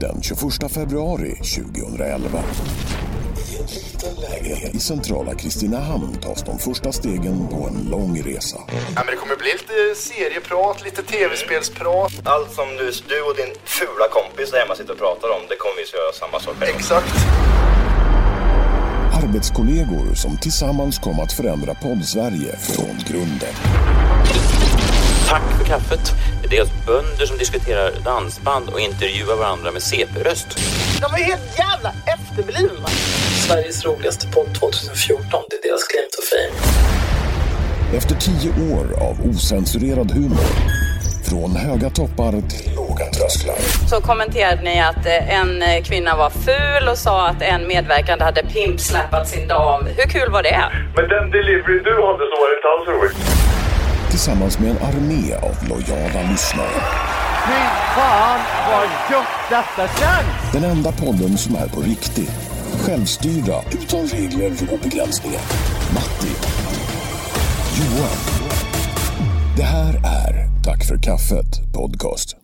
Den 21 februari 2011. I en liten lägenhet i centrala Kristinehamn tas de första stegen på en lång resa. Ja, men det kommer bli lite serieprat, lite tv-spelsprat. Allt som du, du och din fula kompis där hemma sitter och pratar om, det kommer vi att göra samma sak med. Exakt. Arbetskollegor som tillsammans kom att förändra poddsverige från grunden. Tack för kaffet. Det är alltså bönder som diskuterar dansband och intervjuar varandra med CP-röst. De är helt jävla efterblivna. Sveriges roligaste podd 2014, det är deras claim to fame. Efter tio år av osensurerad humor. Från höga toppar till låga trösklar. så kommenterade ni att eh, en eh, kvinna var ful och sa att en medverkande hade pimpsnappat sin dam. Hur kul var det? Men den delivery du hade så var det inte alls roligt. Tillsammans med en armé av lojala lyssnare. Fy fan vad gött detta känns! Den enda podden som är på riktigt. Självstyrda, utan regler och begränsningar. Matti. Johan. Det här är Tack för kaffet podcast.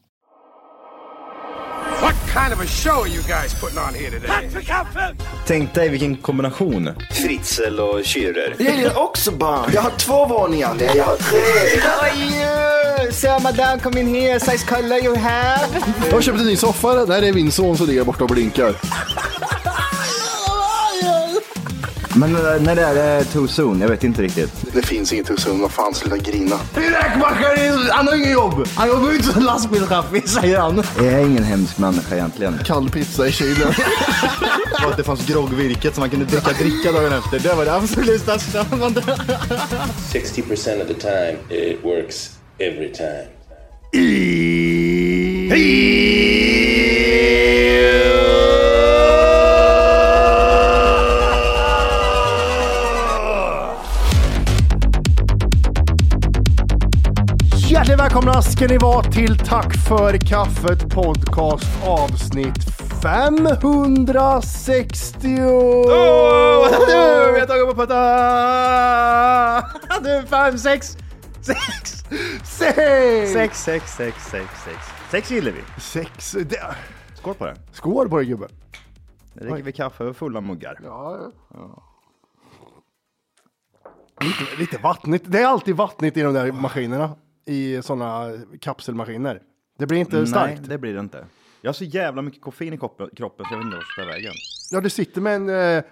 What kind of a show are you guys putting on here today? Tack för kaffet! Tänk dig vilken kombination. Fritzl och Schürrer. Jag gillar också barn. Jag har två våningar. Nej, jag har tre. How are you? So madame, come in here. Size color you have. Jag har köpt en ny soffa. Där är min son som ligger borta och blinkar. Men eh, när det är too soon, jag vet inte riktigt. Det finns inget hus vad fan sluta grina. Räkmackaren, han har inget jobb. Han jobbar inte som lastbilschaffis, säger han. Jag är ingen hemsk människa egentligen. Kall pizza i kylen. Och att det fanns groggvirket som man kunde dricka dricka dagen efter. Det var det absolut största. 60% of the time it works every time. Hjärtligt välkomna ska ni vara till Tack för kaffet podcast avsnitt 560. Åh, du, vi har tagit på putta! Du, fem, sex, sex, Sex! sex, sex, sex, sex, sex. Sex gillar vi. Sex. Det- Skål på det. Skål på dig gubbe. Nu dricker vi kaffe över fulla muggar. Lite, lite vattnigt. Det är alltid vattnigt i de där maskinerna. I sådana kapselmaskiner. Det blir inte starkt. Nej, det blir det inte. Jag har så jävla mycket koffein i kroppen, kroppen så jag vet inte vart jag ska ta vägen. Ja, du sitter med en, eh,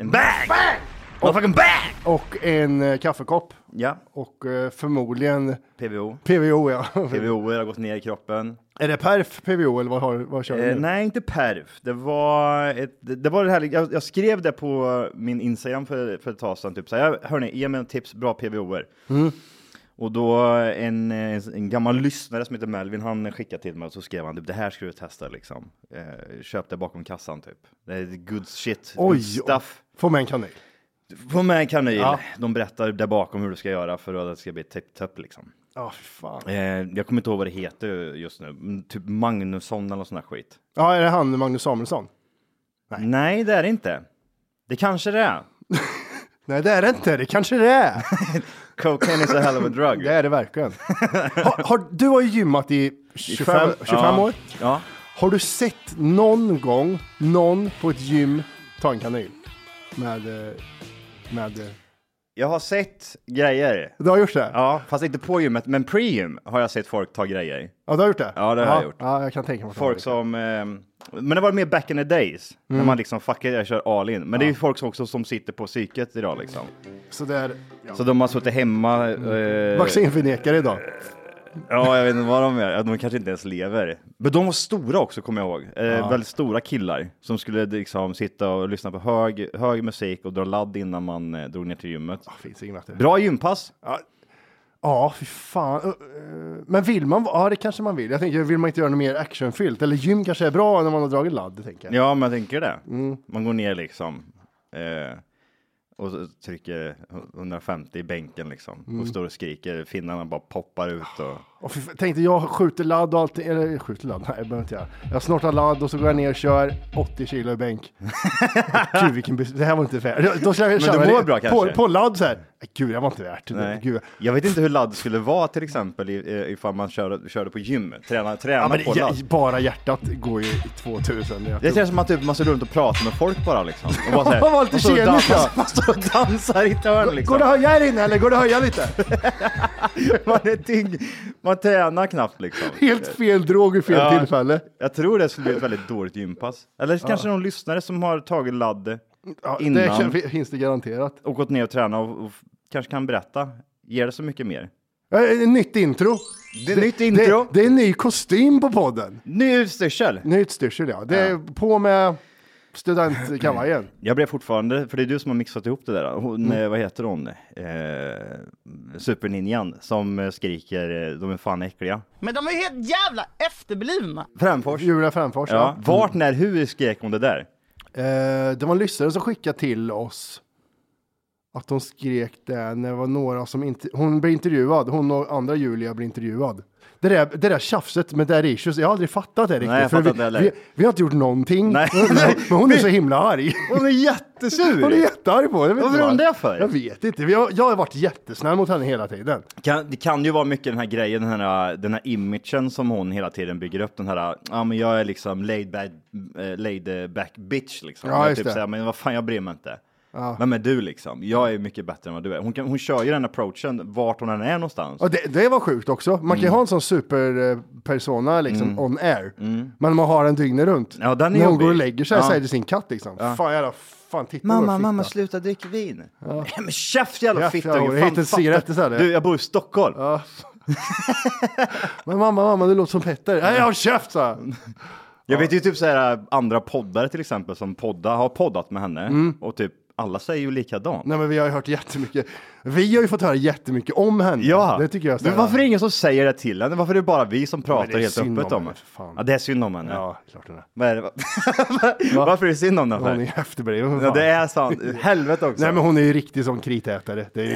En bang! Bang! Motherfucking bang! och en eh, kaffekopp. Ja, Och eh, förmodligen PVO. PVO ja. PVO har gått ner i kroppen. Är det perf PVO eller vad, har, vad kör du Eh, nu? nej, inte perf. Det var, ett, det det var det här, jag, jag skrev det på min Instagram för, för ett tag sedan, typ så här, hörni, ge mig tips, bra PVOer. Mm. Och då en, eh, en gammal lyssnare som heter Melvin, han skickade till mig och så skrev han typ, det här ska du testa liksom. Eh, köp det bakom kassan typ. Det är good shit, Oj, good stuff. Få med en kanin. Få med en kanyl. Ja. De berättar där bakom hur du ska göra för att det ska bli tipp-topp liksom. Ja, fy fan. Eh, jag kommer inte ihåg vad det heter just nu, Mm, typ Magnusson eller någon sån där skit. Ja, är det han Magnus Samuelsson? Nej. det är det inte. Det kanske det är. Nej, det är det inte. Det kanske det är. Cocaine is a hell of a drug. Det är det verkligen. Har, har, du har ju gymmat i 25, 25 ja. år. Ja. Har du sett någon gång någon på ett gym ta en kanin? Med... eh, med eh, Jag har sett grejer. du har gjort det? Ja, fast inte på gymmet, men pre-gym har jag sett folk ta grejer. Ja, du har gjort det? Ja, det har jag gjort. Ja, jag kan tänka mig. att det Folk var som, ehm, men det var mer back in the days, när Mm. man liksom fuck it, jag kör all in. Men det är ju folk som också som sitter på psyket idag liksom. det. Så det är Så Eh. de har suttit hemma. Eh, vaccinförnekare idag. Ja, jag vet inte vad de gör. Ja, De kanske inte ens lever. Men de var stora också, kommer jag ihåg. Eh, Väldigt stora killar som skulle liksom sitta och lyssna på hög, hög musik och dra ladd innan man eh, drog ner till gymmet. Finns inget bättre. Bra gympass. Ja, Ja, fy fan. Ö, ö, Men vill man, ja det kanske man vill. Jag tänker, vill man inte göra något mer actionfyllt? Eller gym kanske är bra när man har dragit ladd, tänker jag. Ja, man tänker det. Mm. Man går ner liksom eh, och så trycker 150 i bänken liksom Mm. och står och skriker. Finnarna bara poppar ut och Och fy, fan, tänkte jag skjuter ladd och allting, eller jag skjuter ladd, nej det behöver inte jag. Jag snortar ladd och så går jag ner och kör 80 kilo i bänk. gud vilken bes- det här var inte fair. Då- Då känner jag, Men det mår bra på, kanske. på ladd så här, gud det var inte värt det. Nej. Gud. Jag vet inte hur ladd skulle vara till exempel i- i- ifall man körde, körde på gym, träna, träna Ja, men på ja, ladd. bara hjärtat går ju i 2000. Jag Det tror- känns som att typ, man står runt och pratar med folk bara liksom. Och bara, så här, Man var lite man står och tjenis, dansar- ja. Man står och dansar i ett hörn liksom. Går det att höja här inne eller går det att höja lite? Man är ting, man tränar knappt liksom. Helt fel drog vid fel Ja. tillfälle. Jag tror det skulle bli ett väldigt dåligt gympass. Eller kanske någon lyssnare som har tagit ladd Ja, innan Det finns det garanterat. och gått ner och tränat och, och kanske kan berätta. Ger det så mycket mer? Äh, nytt intro. Det är nytt intro. Det, det är ny kostym på podden. Ny utstyrsel. Ny utstyrsel ja. Det är på med studentkavajen. Jag blev fortfarande, för det är du som har mixat ihop det där. Hon, eh, vad heter hon? Eh, Superninjan som eh, skriker eh, de är fan äckliga. Men de är ju helt jävla efterblivna. Framfors. Julia Framfors ja. Ja. Vart, när, hur skrek hon det där? Eh, det var en lyssnare som skickade till oss att hon skrek det när det var några som inte... Hon blev intervjuad, hon och andra Julia blev intervjuad. Det där, det där tjafset med Daddy Issues, jag har aldrig fattat det riktigt. jag fattar för vi, inte heller. vi, vi har inte gjort någonting. Nej. Men hon är så himla arg. Hon är jättesur! Hon är jättearg på det. jag vet Varför inte är hon varför. det för? Jag vet inte. Vi har- Jag har varit jättesnäll mot henne hela tiden. Kan, det kan ju vara mycket den här grejen, den här, den här imagen som hon hela tiden bygger upp. Den här, ja men jag är liksom laid back, eh, laid back bitch liksom. Ja, jag just typ det. Säger, men vad fan, jag bryr mig inte. Ja. Vem är du liksom? Jag är mycket bättre än vad du är. Hon, kan, hon kör ju den approachen vart hon än är någonstans. Ja, det, det var sjukt också. Man Mm. kan ju ha en sån superpersona liksom on air. Men man har den dygnet runt. Mm. Ja, den är När hon jobbig. går och lägger sig Ja. säger till sin katt liksom. Fan jävla, fan titta på Mamma, vår mamma, fitta. sluta dricka vin. Ja. men käft jävla Käft, jävla fittunge. hora. Hitta en fatta- cigarett istället. Du, jag bor i Stockholm. Men mamma, mamma, du låter som Petter. Nej, jag har käft sa jag. Jag vet ju typ så här andra poddare till exempel som podda, har poddat med henne Mm. och typ alla säger ju likadant. Nej men vi har ju hört jättemycket. Vi har ju fått höra jättemycket om henne. Ja, Det tycker jag. är så men här- varför är det ingen som säger det till henne? Varför är det bara vi som Men det pratar är helt synd öppet om om henne, henne? för fan. Ja, det är synd om henne. Ja, klart den är. Vad är det? Varför är det synd om henne? Hon är för? ju efterbliven. för Ja, det fan. är sant. Helvete också. Nej men hon är ju riktigt som kritätare. Det är,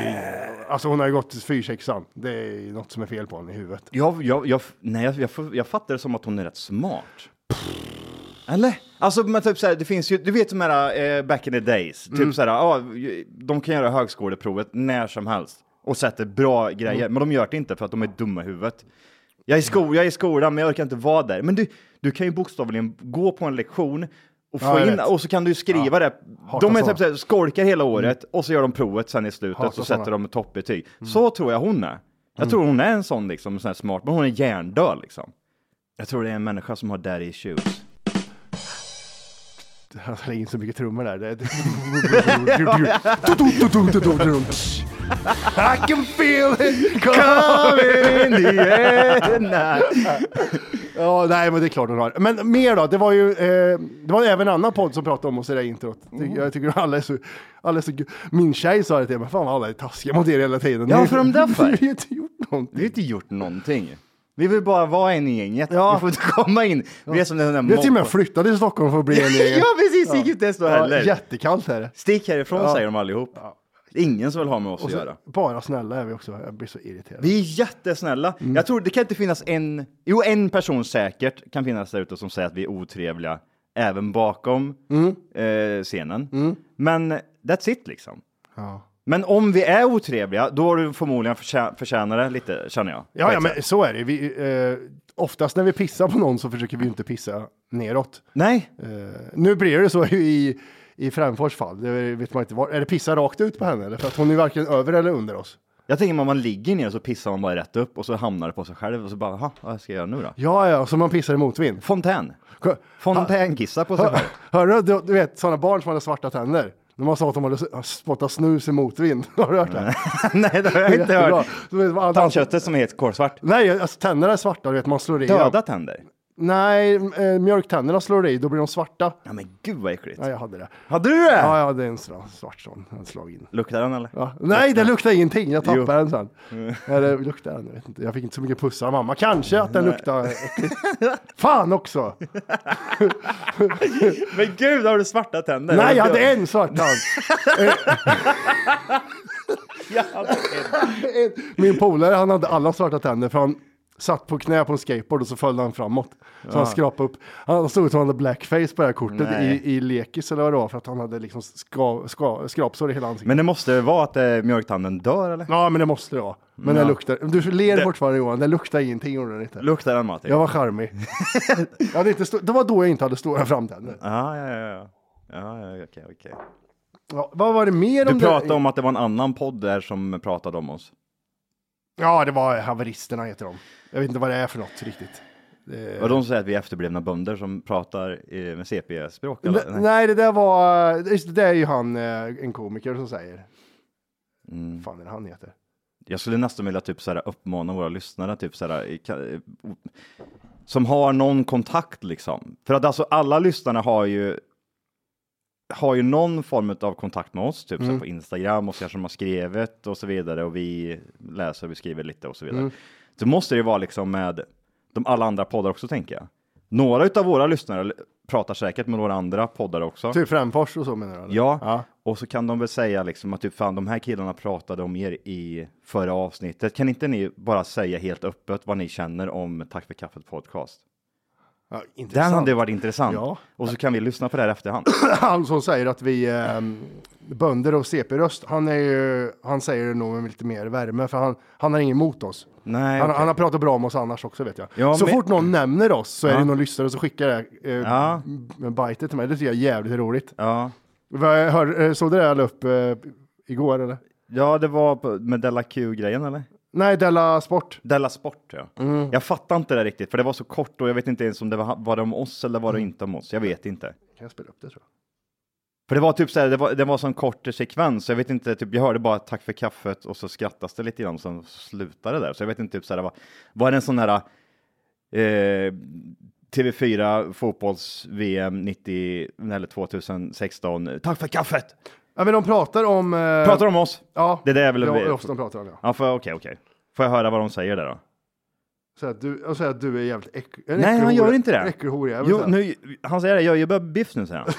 ju- alltså hon har ju gått fyrsexan. Det är ju något som är fel på henne i huvudet. jag, jag, jag, nej, jag, jag, får- jag fattar det som att hon är rätt smart. Eller? Alltså, men typ så här, det finns ju, du vet de här eh, back in the days, typ Mm. så här, ja, de kan göra högskoleprovet när som helst och sätter bra grejer, Mm. men de gör det inte för att de är dumma i huvudet. Jag är, i sko- jag är i skolan, men jag orkar inte vara där. Men du, du kan ju bokstavligen gå på en lektion och, få Ja, jag in, vet. och så kan du skriva det. Hatar De är såna. typ så här, skolkar hela Mm. året och så gör de provet sen i slutet Hatar och så sätter såna. de ett toppbetyg. Mm. Så tror jag hon är. Jag tror hon är en sån liksom, en sån här smart, men hon är hjärndöd liksom. Jag tror det är en människa som har daddy issues. Han slänger in så mycket trummor där. Det- det- I can feel it coming! Ja, nej, men det är klart hon har. Men mer då, det var ju, eh, det var även en annan podd som pratade om oss i det här introt. Mm. Ty- Jag tycker alla är så, alla är så gu- Min tjej sa det till mig, fan vad alla är taskiga mot er hela tiden. Ja, Ni- för de där för. Ni har ju inte gjort Vi har någonting. inte gjort någonting. Vi vill bara vara en i gänget. Ja. Vi får inte komma in. Vi är som den där Vi har till och med mobben. flyttat till Stockholm för att bli en egen. Ja, precis. Det gick inte ens då heller. jättekallt är det. Stick härifrån Ja. säger de allihop. Ingen som vill ha med oss att göra. Bara snälla är vi också. Jag blir så irriterad. Vi är jättesnälla. Mm. Jag tror det kan inte finnas en, jo en person säkert kan finnas där ute som säger att vi är otrevliga även bakom Mm. eh, scenen. Men that's it liksom. Ja. Men om vi är otrevliga, då har du förmodligen förtjä- förtjänat det lite, känner jag. Ja, ja, men så är det. Vi, eh, oftast när vi pissar på någon så försöker vi ju inte pissa neråt. Nej, Eh, nu blir det så i, i Främfors fall. Det vet man inte var. Är det pissa rakt ut på henne? Eller? För att hon är varken över eller under oss. jag tänker om man ligger ner så pissar man bara rätt upp och så hamnar det på sig själv och så bara, "Jaha, vad ska jag göra nu då? Ja, ja, så man pissar i motvind. Fontän. Hör, Fontänkissar på sig själv. hör du, du, du vet sådana barn som hade svarta tänder? När man sa att de hade s- spottat snus i motvind. Har du hört det? Nej, det har jag inte Jättebra. hört. Så vet man- Tandköttet som är helt kolsvart. Nej, alltså tänderna är svarta, du vet, man slår i. Döda tänder. Nej, eh, mjölktänderna slår du i, då blir de svarta. Ja men gud vad äckligt. Ja, jag hade det. Hade du det? Ja, jag hade en sån- svart sån. Jag slog in. Luktar den eller? Ja. Nej, det luktar ingenting. Jag Jo. Mm. tappade den sen. Eller luktar den? Jag vet inte. Jag fick inte så mycket pussar av mamma. Kanske att den Nej. luktar äckligt. Fan också! Men gud, har du svarta tänder? Nej, jag Eller? hade en svart tand. Jag hade en. Min polare, han hade alla svarta tänder för han satt på knä på en skateboard och så föll han framåt. Så Ja. han skrapade upp. Han såg ut som han hade blackface på det här kortet Nej. i, i lekis eller vad det var för att han hade liksom ska, ska, skrapsår i hela ansiktet. Men det måste vara att eh, mjölktanden dör eller? Ja, men det måste det vara. Men Mm, Ja. den luktar. Du ler Det- fortfarande Johan, den luktar ingenting gjorde den inte. Luktar den Matti? Jag var charmig. jag hade inte sto- det var då jag inte hade stora framtänder. Ja, ja, ja. ja. Ja, ja, okej, okej. Ja, vad var det mer om Du pratade det? om att det var en annan podd där som pratade om oss. Ja, det var haveristerna heter de. Jag vet inte vad det är för något riktigt. Eh, Det- Och de säger att vi är efterblivna bönder som pratar eh, med CP-språk? Nej, eller? nej, det där var, just det där är ju han, eh, en komiker som säger. Mm. fan är det han heter? Jag skulle nästan vilja typ så här uppmana våra lyssnare typ så här, i- ka- eh, som har någon kontakt liksom. För att alltså alla lyssnare har ju har ju någon form av kontakt med oss, typ så här Mm. på Instagram och så här som har skrivit och så vidare och vi läser och vi skriver lite och så vidare. Mm. Så måste det ju vara liksom med de alla andra poddar också tänker jag. Några utav våra lyssnare l- pratar säkert med några andra poddar också. Typ Frändfors och så menar du? eller? Ja. ja. Och så kan de väl säga liksom att typ fan de här killarna pratade om er i förra avsnittet. Kan inte ni bara säga helt öppet vad ni känner om Tack för kaffet podcast? Ja, Den intressant. hade varit intressant. Ja. Och så kan vi lyssna på det här efterhand. Han som säger att vi eh, bönder och CP-röst, han, är ju, han säger det nog med lite mer värme för han, han har ingen emot oss. Nej, han, okej. han har pratat bra om oss annars också vet jag. Ja, så men- fort någon nämner oss så är Ja. det någon lyssnare som skickar det eh, Ja. med bajtet till mig. Det tycker jag är jävligt roligt. Ja. Vad jag Hör, eh, såg du det jag la upp eh, igår eller? ja, det var på- med Della Q-grejen eller? Nej, Della Sport. Della Sport ja. Mm. Jag fattar inte det riktigt för det var så kort och jag vet inte ens om det var, var det om oss eller Mm. var det inte om oss. Jag vet inte. Kan jag spela upp det tror jag? För det var typ så här, det var, det var sån kort sekvens, så jag vet inte, typ, jag hörde bara tack för kaffet och så skrattas det lite grann, sen slutade det där. Så jag vet inte, typ så här, var, var det en sån här eh, TV4 fotbolls-VM 90, eller 2016, tack för kaffet! Ja, men de pratar om... Eh, Pratar de om oss? Ja, Det där är väl... det är ofta de pratar om ja. Ja, får jag- okej, okej. Får jag höra vad de säger där då? Så att du, jag säger att du är jävligt äck, en Nej, han äckelhora- gör inte det. Äckelhorjävel. Jo, säger han. nu, han säger det, jag gör biff nu, säger han.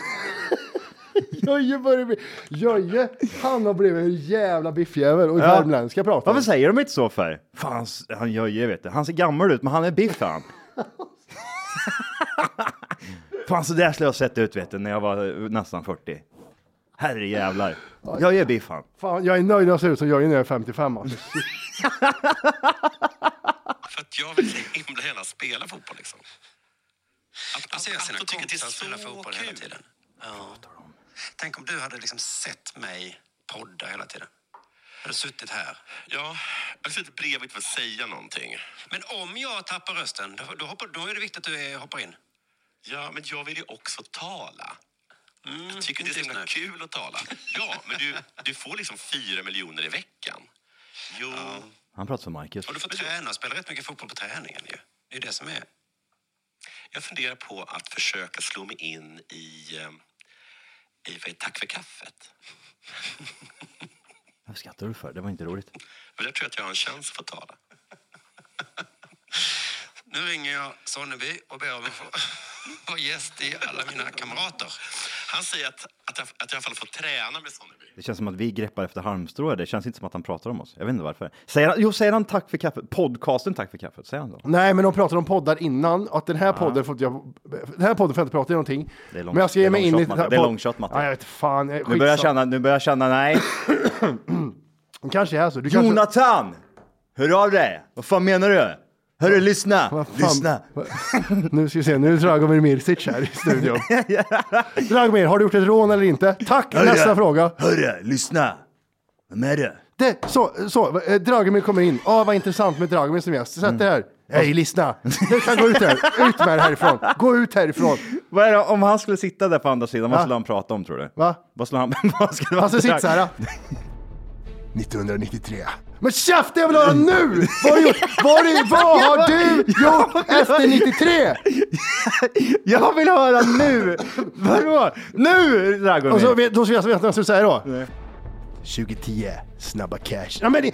Jöje börjar bli... Jöje, han har blivit en jävla biffjävel och värmländska pratar Varför säger de inte så för? Fan, han gör ju, vet du. Han ser gammal ut, men han är biff han. Fan, så där skulle jag ha sett ut, vet du, när jag var eh, nästan 40. Herre jävlar. Jag är biff han. Fan, jag är nöjd när jag ser ut som Jöje när jag är 55 alltså. För att jag vill så himla gärna spela fotboll liksom. Att, alltså, jag ser att, tycker det är så spela fotboll kul. hela tiden. Ja. Tänk om du hade liksom sett mig podda hela tiden. Hade suttit här. Ja, jag hade suttit bredvid och inte fått säga någonting. Men om jag tappar rösten, då, då, hoppar, då är det viktigt att du eh, hoppar in. Ja, men jag vill ju också tala. jag tycker det är så himla kul att tala. Ja, men du, du får liksom fyra miljoner i veckan. Jo. Han pratar som Marcus. Och du får träna och spela rätt mycket fotboll på träningen ju. Det är det som är. Jag funderar på att försöka slå mig in i, eh, i vad är Tack för kaffet. Vad skrattar du för? Det var inte roligt. Men där tror jag att jag har en chans att få tala. Nu ringer jag Sonneby och ber om att få vara gäst i alla mina kamrater. Han säger att, att, jag, att jag i alla fall får träna med Sonneby. Det känns som att vi greppar efter halmstrå. Det känns inte som att han pratar om oss. Jag vet inte varför. Säger han, jo, säger han tack för kaffet? Podcasten tack för kaffet, säger han då? Nej, men de pratar om poddar innan. Att den här podden får inte jag... Den här podden får jag inte prata i någonting. Det är långt- men jag ska ge det är mig in långshot, i... Matte. Det är långshot, Matte. Ja, jag vet fan. eh, Nu börjar jag skitsamma. känna, nu börjar jag känna, nej. Kanske är så. Du kanske... Jonathan! Hör av dig! Vad fan menar du? Hörru, lyssna! fan? Lyssna! Nu ska vi se, nu är Dragomir Mirsic här i studion. Dragomir, har du gjort ett rån eller inte? Tack, Hörru. nästa fråga. Hörru, lyssna! Vem är det? Det, så, så, eh, Dragomir kommer in. Åh, vad intressant med Dragomir som gäst. Sätt dig Mm. här. Hej, lyssna. Du kan gå ut här. Ut med er härifrån. Gå ut härifrån. Vad är det, om han skulle sitta där på andra sidan, vad Va? skulle han prata om tror du? Va? Vad skulle han... Vad skulle Alltså, han sitt så här. 1993 Men käften jag vill höra nu! Vad, har du gjort? vad, har du- vad har du gjort efter 93? Jag vill höra nu! Vadå? Nu Dragomir! Och så vet, då ska jag veta vad jag skulle säga då. 2010, snabba cash. Ja, men det-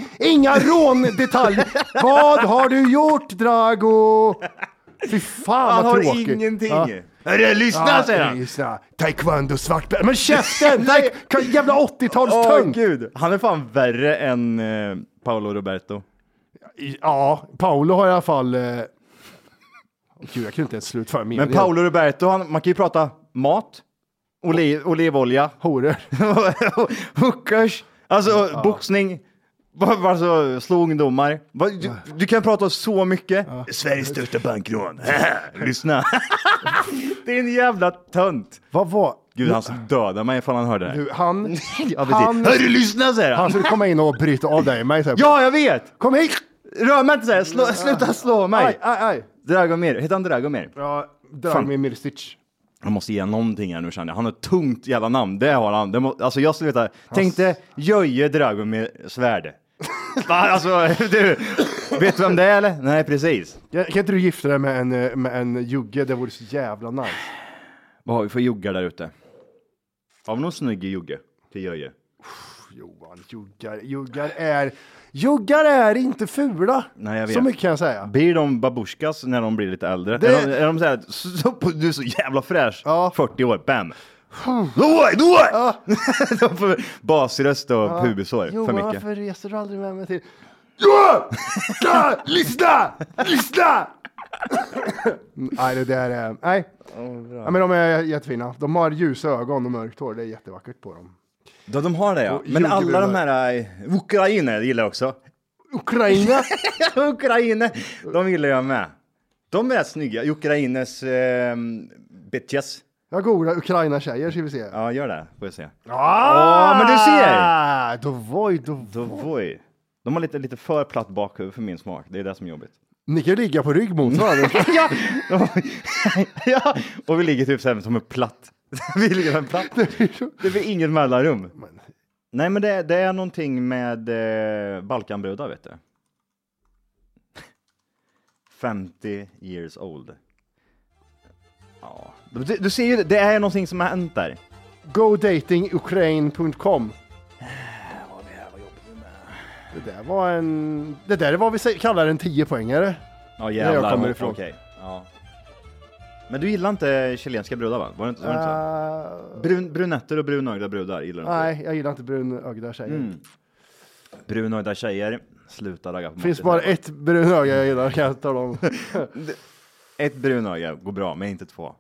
inga råndetaljer. vad har du gjort Drago? Fy fan Han vad har tråkigt. ingenting. Ja. Hörru, lyssna Ja, säger han! lyssna. Taekwondo svartbälte. Men käften! Nej. Jävla Åh 80-talstung! gud, han är fan värre än eh, Paolo Roberto. Ja, Paolo har i alla fall... Eh... Gud, jag kunde inte ens slutföra meningen. Men Paolo Roberto, han, man kan ju prata mat, oliv, olivolja, horor, hookers, alltså boxning, va- va- alltså, slå ungdomar. Va- Du, du kan prata så mycket. Sveriges största bankrån. Lyssna. det är en jävla tönt. Vad var... Gud, han skulle döda mig ifall han hörde det. Du, han... Ja, precis. Hörru, lyssna säger han. Han skulle komma in och bryta av dig mig. så här. Ja, jag vet! Kom hit! Rör mig inte såhär, slå, sluta slå mig! Aj, aj, aj. Dragomir, heter han Dragomir? Ja, Dragomir Mirsic. Han måste ge någonting här nu känner jag. Han har ett tungt jävla namn, det har han. Det må, alltså jag skulle veta, tänk dig Jöje Dragomir Svärd. Va, alltså du, vet du vem det är eller? Nej precis. Ja, Kan inte du gifta dig med en, eh, med en jugge? Det vore så jävla nice. Vad har vi för juggar där ute? Har vi någon snygg jugge till Jöje? Johan, juggar, juggar är... Juggar är inte fula. Nej, jag vet. Så mycket kan jag säga. Blir de babusjkas när de blir lite äldre? Det- Är de, är de så här, så, du är så jävla fräsch, Ja. 40 år, bam! Då, då! De får Basröst och pubisår för Johan, mycket. varför reser du aldrig med mig till... Johan! Ja, lyssna! Lyssna! Nej, det där är... Nej. ja, men de är jättefina. De har ljusa ögon och mörkt hår. Det är jättevackert på dem. Ja, de har det ja. Men jordgubbar. alla de här eh, ukrainer gillar jag också. Ukraina! ukrainer, de gillar jag med. De är rätt snygga. Ukrainers eh, bitches. Jag googlar Ukraina-tjejer ska vi se. Ja, gör det. Får jag se. Ah, Åh, men du ser! Dovoj, dovoj. Dovoj. De har lite, lite för platt bakhuvud för min smak. Det är det som är jobbigt. Ni kan ju ligga på rygg mot varandra. ja. ja, och vi ligger typ så här som en platt. vi ligger som en platt. Det blir inget mellanrum. Nej, men det, det är någonting med eh, Balkanbrudar, vet du. 50 years old. Ja, du, du ser ju, det är någonting som har hänt där. GoDatingukraine.com Det där var en... Det där är vad vi sä- kallar en 10-poängare. Ja, jag jävlar. kommer ifrån. Okej, ja. Men du gillar inte chilenska brudar, va? Var det inte, var det inte så? Eh, Brun, brunetter och brunögda brudar gillar du inte. nej, jag gillar inte brunögda tjejer. Mm, Brunögda tjejer, sluta ragga på Det finns Martin. bara ett brunöga jag gillar kan jag tala om. Ett brunöga går bra, men inte två.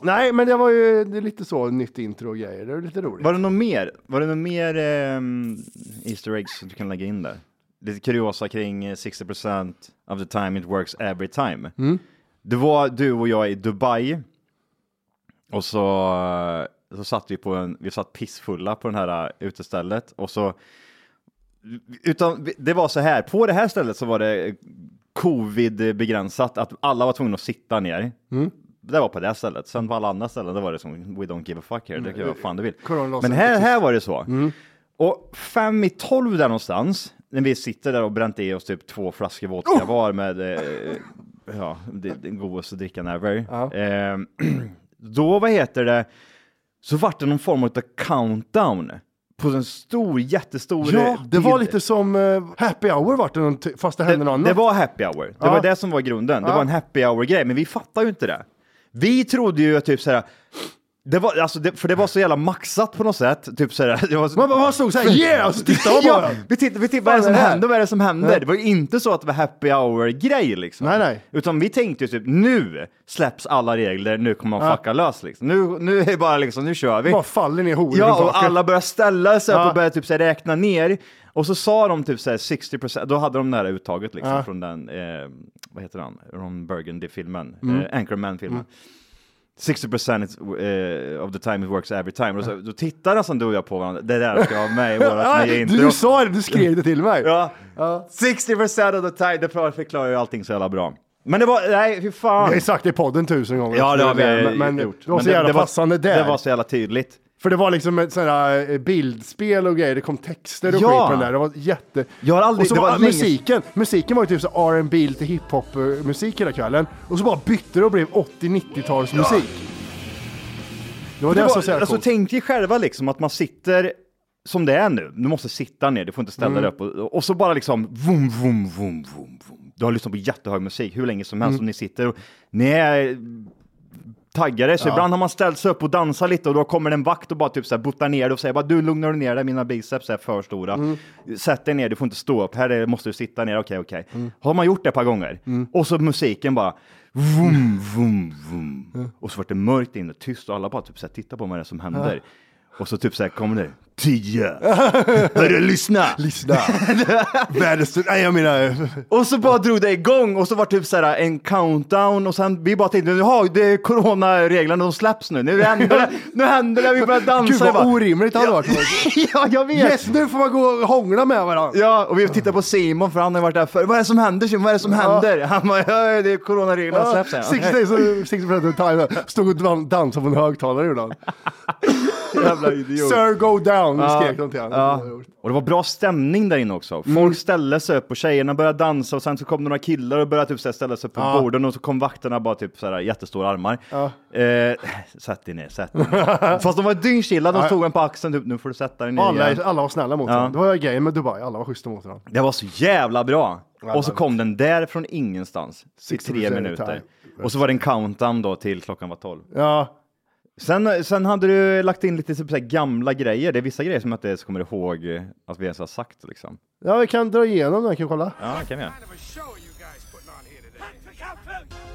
nej, men det var ju det är lite så nytt intro och grejer. Det var lite roligt. Var det något mer? Var det något mer ehm, Easter eggs som du kan lägga in där? Lite kuriosa kring eh, 60% of the time it works every time. Det var du och jag i Dubai och så, eh, så satt vi på en, vi satt pissfulla på det här eh, utestället och så utan det var så här, på det här stället så var det covid-begränsat, att alla var tvungna att sitta ner. Mm. Det var på det här stället. Sen på alla andra ställen, det var det som we don't give a fuck here, det kan göra vad fan du vill. Mm. Corona Men här, här var det så. Mm. Och fem i tolv där någonstans, när vi sitter där och bränt i oss typ två flaskor vodka Oh! var med eh, ja, det- den godaste drickan ever. Eh, då, vad heter det, så vart det någon form av countdown på en stor, jättestor ja, eh, det var bild. lite som eh, happy hour vart det, någon ty- fast det hände något annat. Det var happy hour. Det Ja. var det som var grunden. Det Ja. var en happy hour-grej, men vi fattar ju inte det. Vi trodde ju att typ såhär, det var, alltså det, för det var så jävla maxat på något sätt. Typ såhär, det var så, Man bara man stod såhär yeah! alltså, Och så tittade man på ja, varandra. vi tittar, vi tittar, vad är det Fan, som det här? händer? Vad är det som händer? Nej. Det var ju inte så att det var happy hour-grej liksom. Nej, nej. Utan vi tänkte ju typ, nu släpps alla regler, nu kommer man Ja. fucka lös liksom. Nu, nu är det bara liksom, nu kör vi. Bara faller ner horor Ja, i och taket. alla började ställa sig upp Ja. och började typ så här räkna ner. Och så sa de typ så här 60 procent, då hade de det här uttaget liksom Ja. från den, eh, vad heter han, Ron Burgundy-filmen, Mm. eh, Anchorman-filmen. 60 procent eh, of the time it works every time. Och så, då tittade nästan du och jag på varandra, det där ska jag ha med i vårat nya Nej, intro. du sa det, du skrev det till mig. Ja. 60 procent of the time, det förklarar ju allting så jävla bra. Men det var, nej fy fan. Jag har ju sagt det i podden tusen gånger. Ja, det har vi men, men, gjort. Det var så Men jävla det var- passande där. Det var så jävla tydligt. För det var liksom ett sånt här eh, bildspel och grejer, det kom texter och Ja. skit på den där. Det var jätte... Jag har aldrig- och så det var var länge- musiken, musiken var ju typ så här R&B lite hiphop-musik hela kvällen. Och så bara bytte det och blev 80-90-talsmusik. Det var det, det som var så jävla alltså, coolt. tänk dig själva liksom att man sitter som det är nu. Du måste sitta ner, du får inte ställa Mm. dig upp. Och, och så bara liksom vum, vum, vum, vum, vum. Du har lyssnat på jättehög musik hur länge som helst Mm. och ni sitter och ni är taggade. Så Ja. ibland har man ställt sig upp och dansat lite och då kommer det en vakt och bara typ så här buttar ner dig och säger bara du lugnar dig ner dig, mina biceps är för stora. Mm. Sätt dig ner, du får inte stå upp, här är- måste du sitta ner, okej okej. Mm. Har man gjort det ett par gånger och så musiken bara Mm. vum, vum, vum. Och så vart det mörkt inne, tyst och alla bara typ så här tittar på mig vad det är som händer. Och så typ så här kommer det tio. Hörru, lyssna! Lyssna! Världens... Nej, jag menar... Och så bara drog det igång och så var typ så här en countdown och sen vi bara tänkte jaha, det är coronareglerna, de släpps nu. Nu händer det, nu händer det, vi börjar dansa. Gud vad Jag bara, orimligt det hade Ja. varit. ja, jag vet. Yes, nu får man gå och hångla med varandra. Ja, och vi tittar på Simon för han har varit där förr. Vad är det som händer Simon? Vad är det som händer? Han bara, ja, det är coronareglerna, släpps. Ja, här." 60 days, of- 60 of the time. Stod och dan- dansade på en högtalare ibland. Jävla idiot. Sir go down, Ja, skrek de till honom. ja. Och det var bra stämning där inne också. Folk Mm. ställde sig upp och tjejerna började dansa och sen så kom några killar och började typ så här ställa sig upp på Ja. borden och så kom vakterna bara typ så här jättestora armar. Ja. Eh, sätt dig ner, sätt dig ner. Fast de var dyngchilla, de Ja. tog en på axeln typ nu får du sätta dig ner igen. Alla, alla var snälla mot Ja. honom. Det var grejen med Dubai, alla var schyssta mot honom. Det var så jävla bra. Jävlar. Och så kom den där från ingenstans i 60% tre minuter. Och så var det en countdown då till klockan var tolv. Ja, Sen, sen hade du lagt in lite typ så här gamla grejer. Det är vissa grejer som jag inte ens kommer ihåg eh, att vi ens har sagt liksom. ja vi kan dra igenom den, kan vi kolla? Ja, det kan vi göra.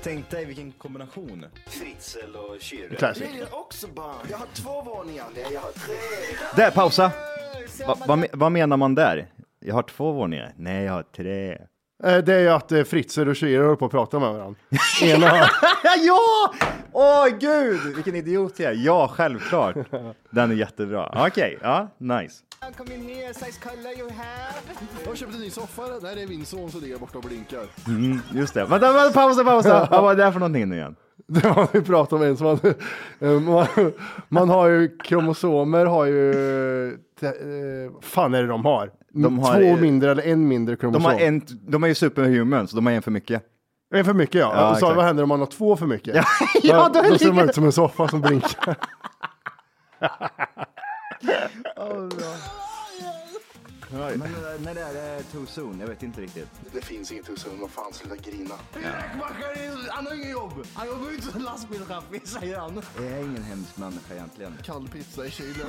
Tänk dig vilken kombination. Fritzel och Kyrre. Classic. Jag är också barn. Jag har två våningar. Nej, jag har tre. Där, pausa! Va, va, me- vad menar man där? Jag har två våningar. Nej, jag har tre. Eh, Det är ju att eh, Fritzl och Schürrer håller på att prata med varandra. Ena, ja! Åh gud, vilken idiot jag är. Ja, självklart. Den är jättebra. Okej, ja, nice. Kom in here, size color you have. Jag har köpt en ny soffa. Nej, det är min son som ligger borta och blinkar. Mm, just det. Vänta, vänta, pausa, pausa. Vad var det där för någonting nu igen? det var vi pratade om en som hade, eh, man, man har ju kromosomer, har ju, te- eh, vad fan är det de har? De har, Två eh, mindre eller en mindre kromosom. De, har en, de är ju superhuman, så de har en för mycket. En för mycket ja. Ja, och så, exakt. vad händer om man har två för mycket? Ja, ja, då då ser man ligger- ut som en soffa som blinkar. Men eh, när är det too soon? Jag vet inte riktigt. Det finns inget hos honom. Vad fan, sluta grina. Han har inget jobb. Han jobbar inte som lastbilschaffis, säger han. Jag är ingen hemsk människa egentligen. Kall pizza i kylen.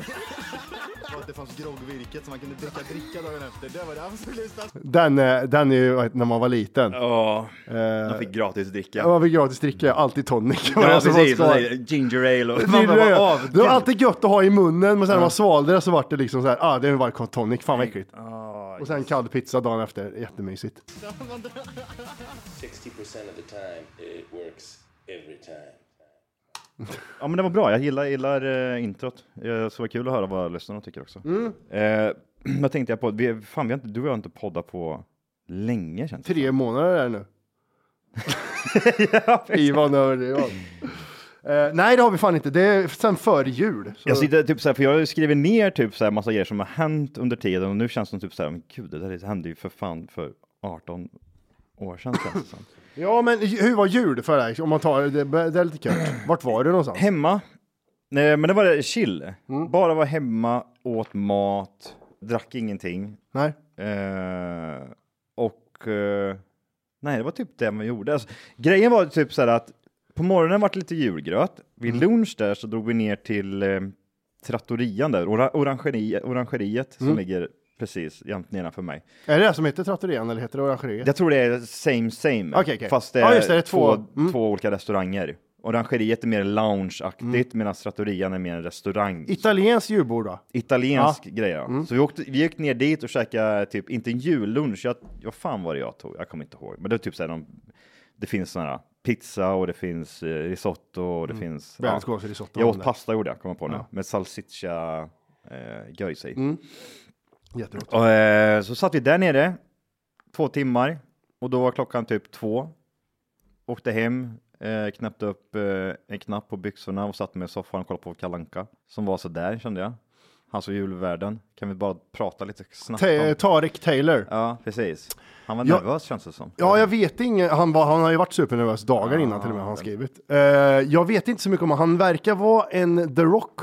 och att det fanns groggvirket som man kunde dricka dricka dagen efter. Det var det absolut bästa. Den, eh, den är ju vad heter- när man var liten. Ja, Eh, de fick gratis dricka. Ja. Man fick gratis dricka, alltid tonic. Ja, Var det som var precis. skoj. Det där Ginger ale och... Det, Man är bara, det, "Åh, det var gud." alltid gött att ha i munnen, men sen när Ja. man svalde det så var det liksom så här, ah det var tonic, fan vad äckligt. Ah, Och sen kall pizza dagen efter, jättemysigt. 60% of the time, it works every time. Ja, men det var bra. Jag gillar, gillar eh, introt. Eh, så var kul att höra vad lyssnarna tycker också. Mm. Eh, vad tänkte jag på? Vi, fan, vi har inte, du och jag har inte poddat på länge känns det Tre månader är det nu. ja, Ivan över Ivan. Eh, nej det har vi fan inte, det är sen före jul. Så. Jag sitter typ såhär, för jag skriver ner typ såhär massa grejer som har hänt under tiden och nu känns det som typ såhär, men gud det där hände ju för fan för 18 år sedan känns det som. Ja men ju- hur var jul för dig? Om man tar det, det är lite kört. Vart var du någonstans? Hemma. Nej, men det var chill. Bara var hemma, åt mat, drack ingenting. Nej. Eh, och eh, nej, det var typ det man gjorde. Alltså, grejen var typ så här att på morgonen var det lite julgröt. Vid lunch där så drog vi ner till eh, trattorian där, ora- orangeri, orangeriet som Mm. ligger precis jämt nedanför mig. Är det det som heter Trattorian eller heter det Orangeriet? Jag tror det är same same, Okej, okej. fast det är, Ja, just det, det är två, två- Mm. två, olika restauranger. Orangeriet är mer loungeaktigt Mm. medan trattorian är mer en restaurang. Italienskt julbord då? Italiensk Ja. Mm. grej. Ja. Så vi, åkte, vi gick ner dit och käkade typ, inte en jullunch, jag, vad fan var det jag tog? Jag kommer inte ihåg. Men det är typ så här, de, det finns sådana här pizza och det finns eh, risotto och det finns... Världens godaste risotto. Jag åt Där. pasta gjorde jag, kommer på nu, Mm. Ja. med salsiccia eh, göjs i. Jättegott. Och, eh, så satt vi där nere två timmar och då var klockan typ två. Åkte hem, Eh, knäppte upp eh, en knapp på byxorna och satte mig i soffan och kollade på Kalanka Som var så där kände jag. Han såg julvärden. Kan vi bara prata lite snabbt Ta- om... Tarek Taylor. Ja, precis. Han var Ja. nervös känns det som. Ja, jag vet inte. Han, var, han har ju varit supernervös dagar innan till och med har han skrivit. Eh, jag vet inte så mycket om honom. Han verkar vara en The Rock.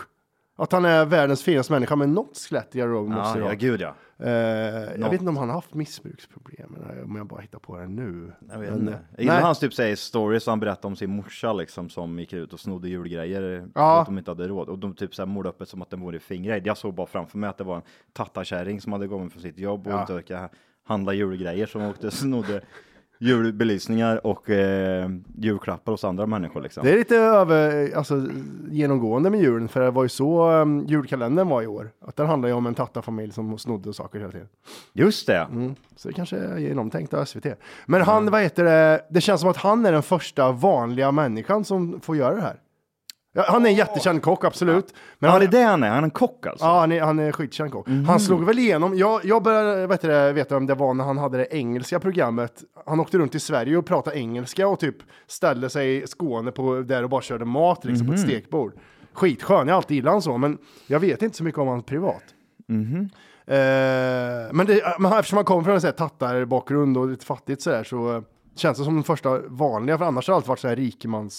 Att han är världens finaste människa, men något slätt i Rogue måste Ja, det ja, vara. gud ja. Eh, jag Något. vet inte om han har haft missbruksproblem, eller om jag bara hittar på det nu. Jag vet Men, inte. eh, Jag gillar nej. hans typ säger stories han berättar om sin morsa liksom som gick ut och snodde julgrejer Ja. för att de inte hade råd. Och de typ så här målade upp det som att den vore fingerade. Jag såg bara framför mig att det var en tattarkärring som hade kommit från sitt jobb och Ja. inte orkade handla julgrejer som åkte och snodde julbelysningar och eh, julklappar hos andra människor liksom. Det är lite över, alltså, genomgående med julen, för det var ju så um, julkalendern var i år. Att den handlar ju om en tattarfamilj som snodde saker hela tiden. Just det! Mm. Så det kanske är genomtänkt av SVT. Men han, vad heter det, det känns som att han är den första vanliga människan som får göra det här. Ja, han är en jättekänd kock, absolut. Men han, Ja, det är det han är. Han är en kock alltså. Mhm. Ja, han är, han är skitkänd kock. Han slog väl igenom, jag, jag började vet det, veta vem det var när han hade det engelska programmet. Han åkte runt i Sverige och pratade engelska och typ ställde sig i Skåne på, där och bara körde mat liksom, på ett Mhm. stekbord. Skitskön, jag har alltid gillat han så, men jag vet inte så mycket om han privat. Mhm. Eh, men, det, men han- eftersom han kommer från en sån här tattarbakgrund och lite fattigt sådär så eh, känns det som den första vanliga, för annars har det alltid varit så här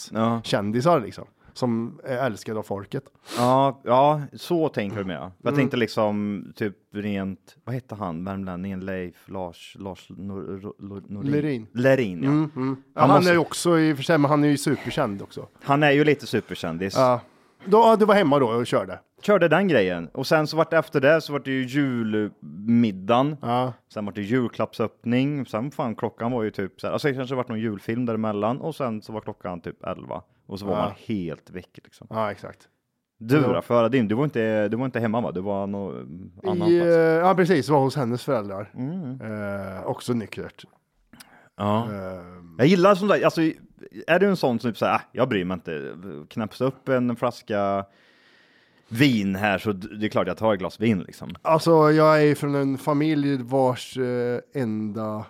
rikemanskändisar liksom. Som är älskade av folket. Ja, ja, så tänker du med. ja. Jag Mm. tänkte liksom typ rent, vad hette han, värmlänningen Leif, Lars, Lars Nor- Ro- Lor- Norin? Lerin. Lerin, ja. Mm, mm. Ja, Han han, måste- är ju också i och för sig, men han är ju superkänd också. Han är ju lite superkändis. Ja. Då, ja, du var hemma då och körde? Körde den grejen. Och sen så vart det efter det så vart det ju julmiddagen. Sen vart det julklappsöppning. Sen fan klockan var ju typ så här, alltså det kanske vart någon julfilm däremellan och sen så var klockan typ 11. Och så var Ja. man helt väck liksom. Ja, exakt. Du Ja. då, för höra din, du var inte, du var inte hemma va? Du var någon annan I, eh, plats. ja, precis. Var hos hennes föräldrar. Mm. Eh, också nyktert. Eh, Ja. Jag gillar som sagt, alltså, är du en sån som typ såhär, "Ah, jag bryr mig inte, knäpps upp en flaska vin här så d- det är klart jag tar ett glas vin liksom. Alltså, jag är ju från en familj vars eh, enda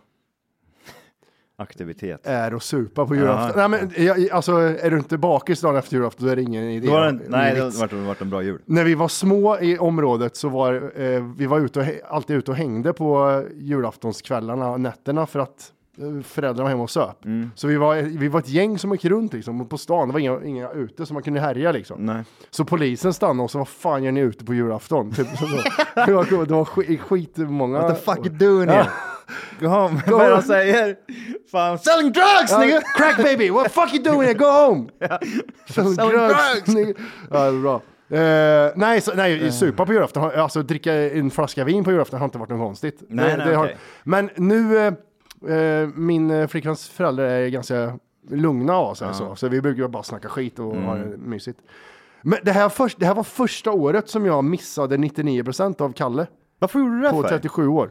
Aktivitet. är att supa på Ja. julafton. Nej, men, jag, alltså, är du inte bakis dagen efter julafton, då är det ingen idé. Då var det, en- Ingen nej, det vits. har varit en bra jul. När vi var små i området så var eh, vi var ute och, hä- alltid ute och hängde på eh, julaftonskvällarna och nätterna för att eh, föräldrarna var hemma och söp. Mm. Så vi var, vi var ett gäng som gick runt liksom, och på stan. Det var inga, inga ute som man kunde härja liksom. Så polisen stannade och sa, vad fan gör ni ute på julafton? Typ, så, det var, det var skit, skitmånga. What the fuck doing here? Go home, Go vad är det home. han säger? Fan. Selling drugs Ja. nigga! Crack baby! What the fuck you doing here? Go home! Selling, Selling drugs! drugs. nigga. ja, det är bra. Eh, nej, så, nej, supa på julafton, har- alltså dricka en flaska vin på julafton har inte varit något konstigt. Nej, Det- nej, det har- okej. Men nu, eh, eh, min eh, flickans föräldrar är ganska lugna av sig, Ja. så, så vi brukar bara snacka skit och Mm. ha det mysigt. Men det här, först, det här var första året som jag missade 99% av Kalle. Varför gjorde du det På för? 37 år.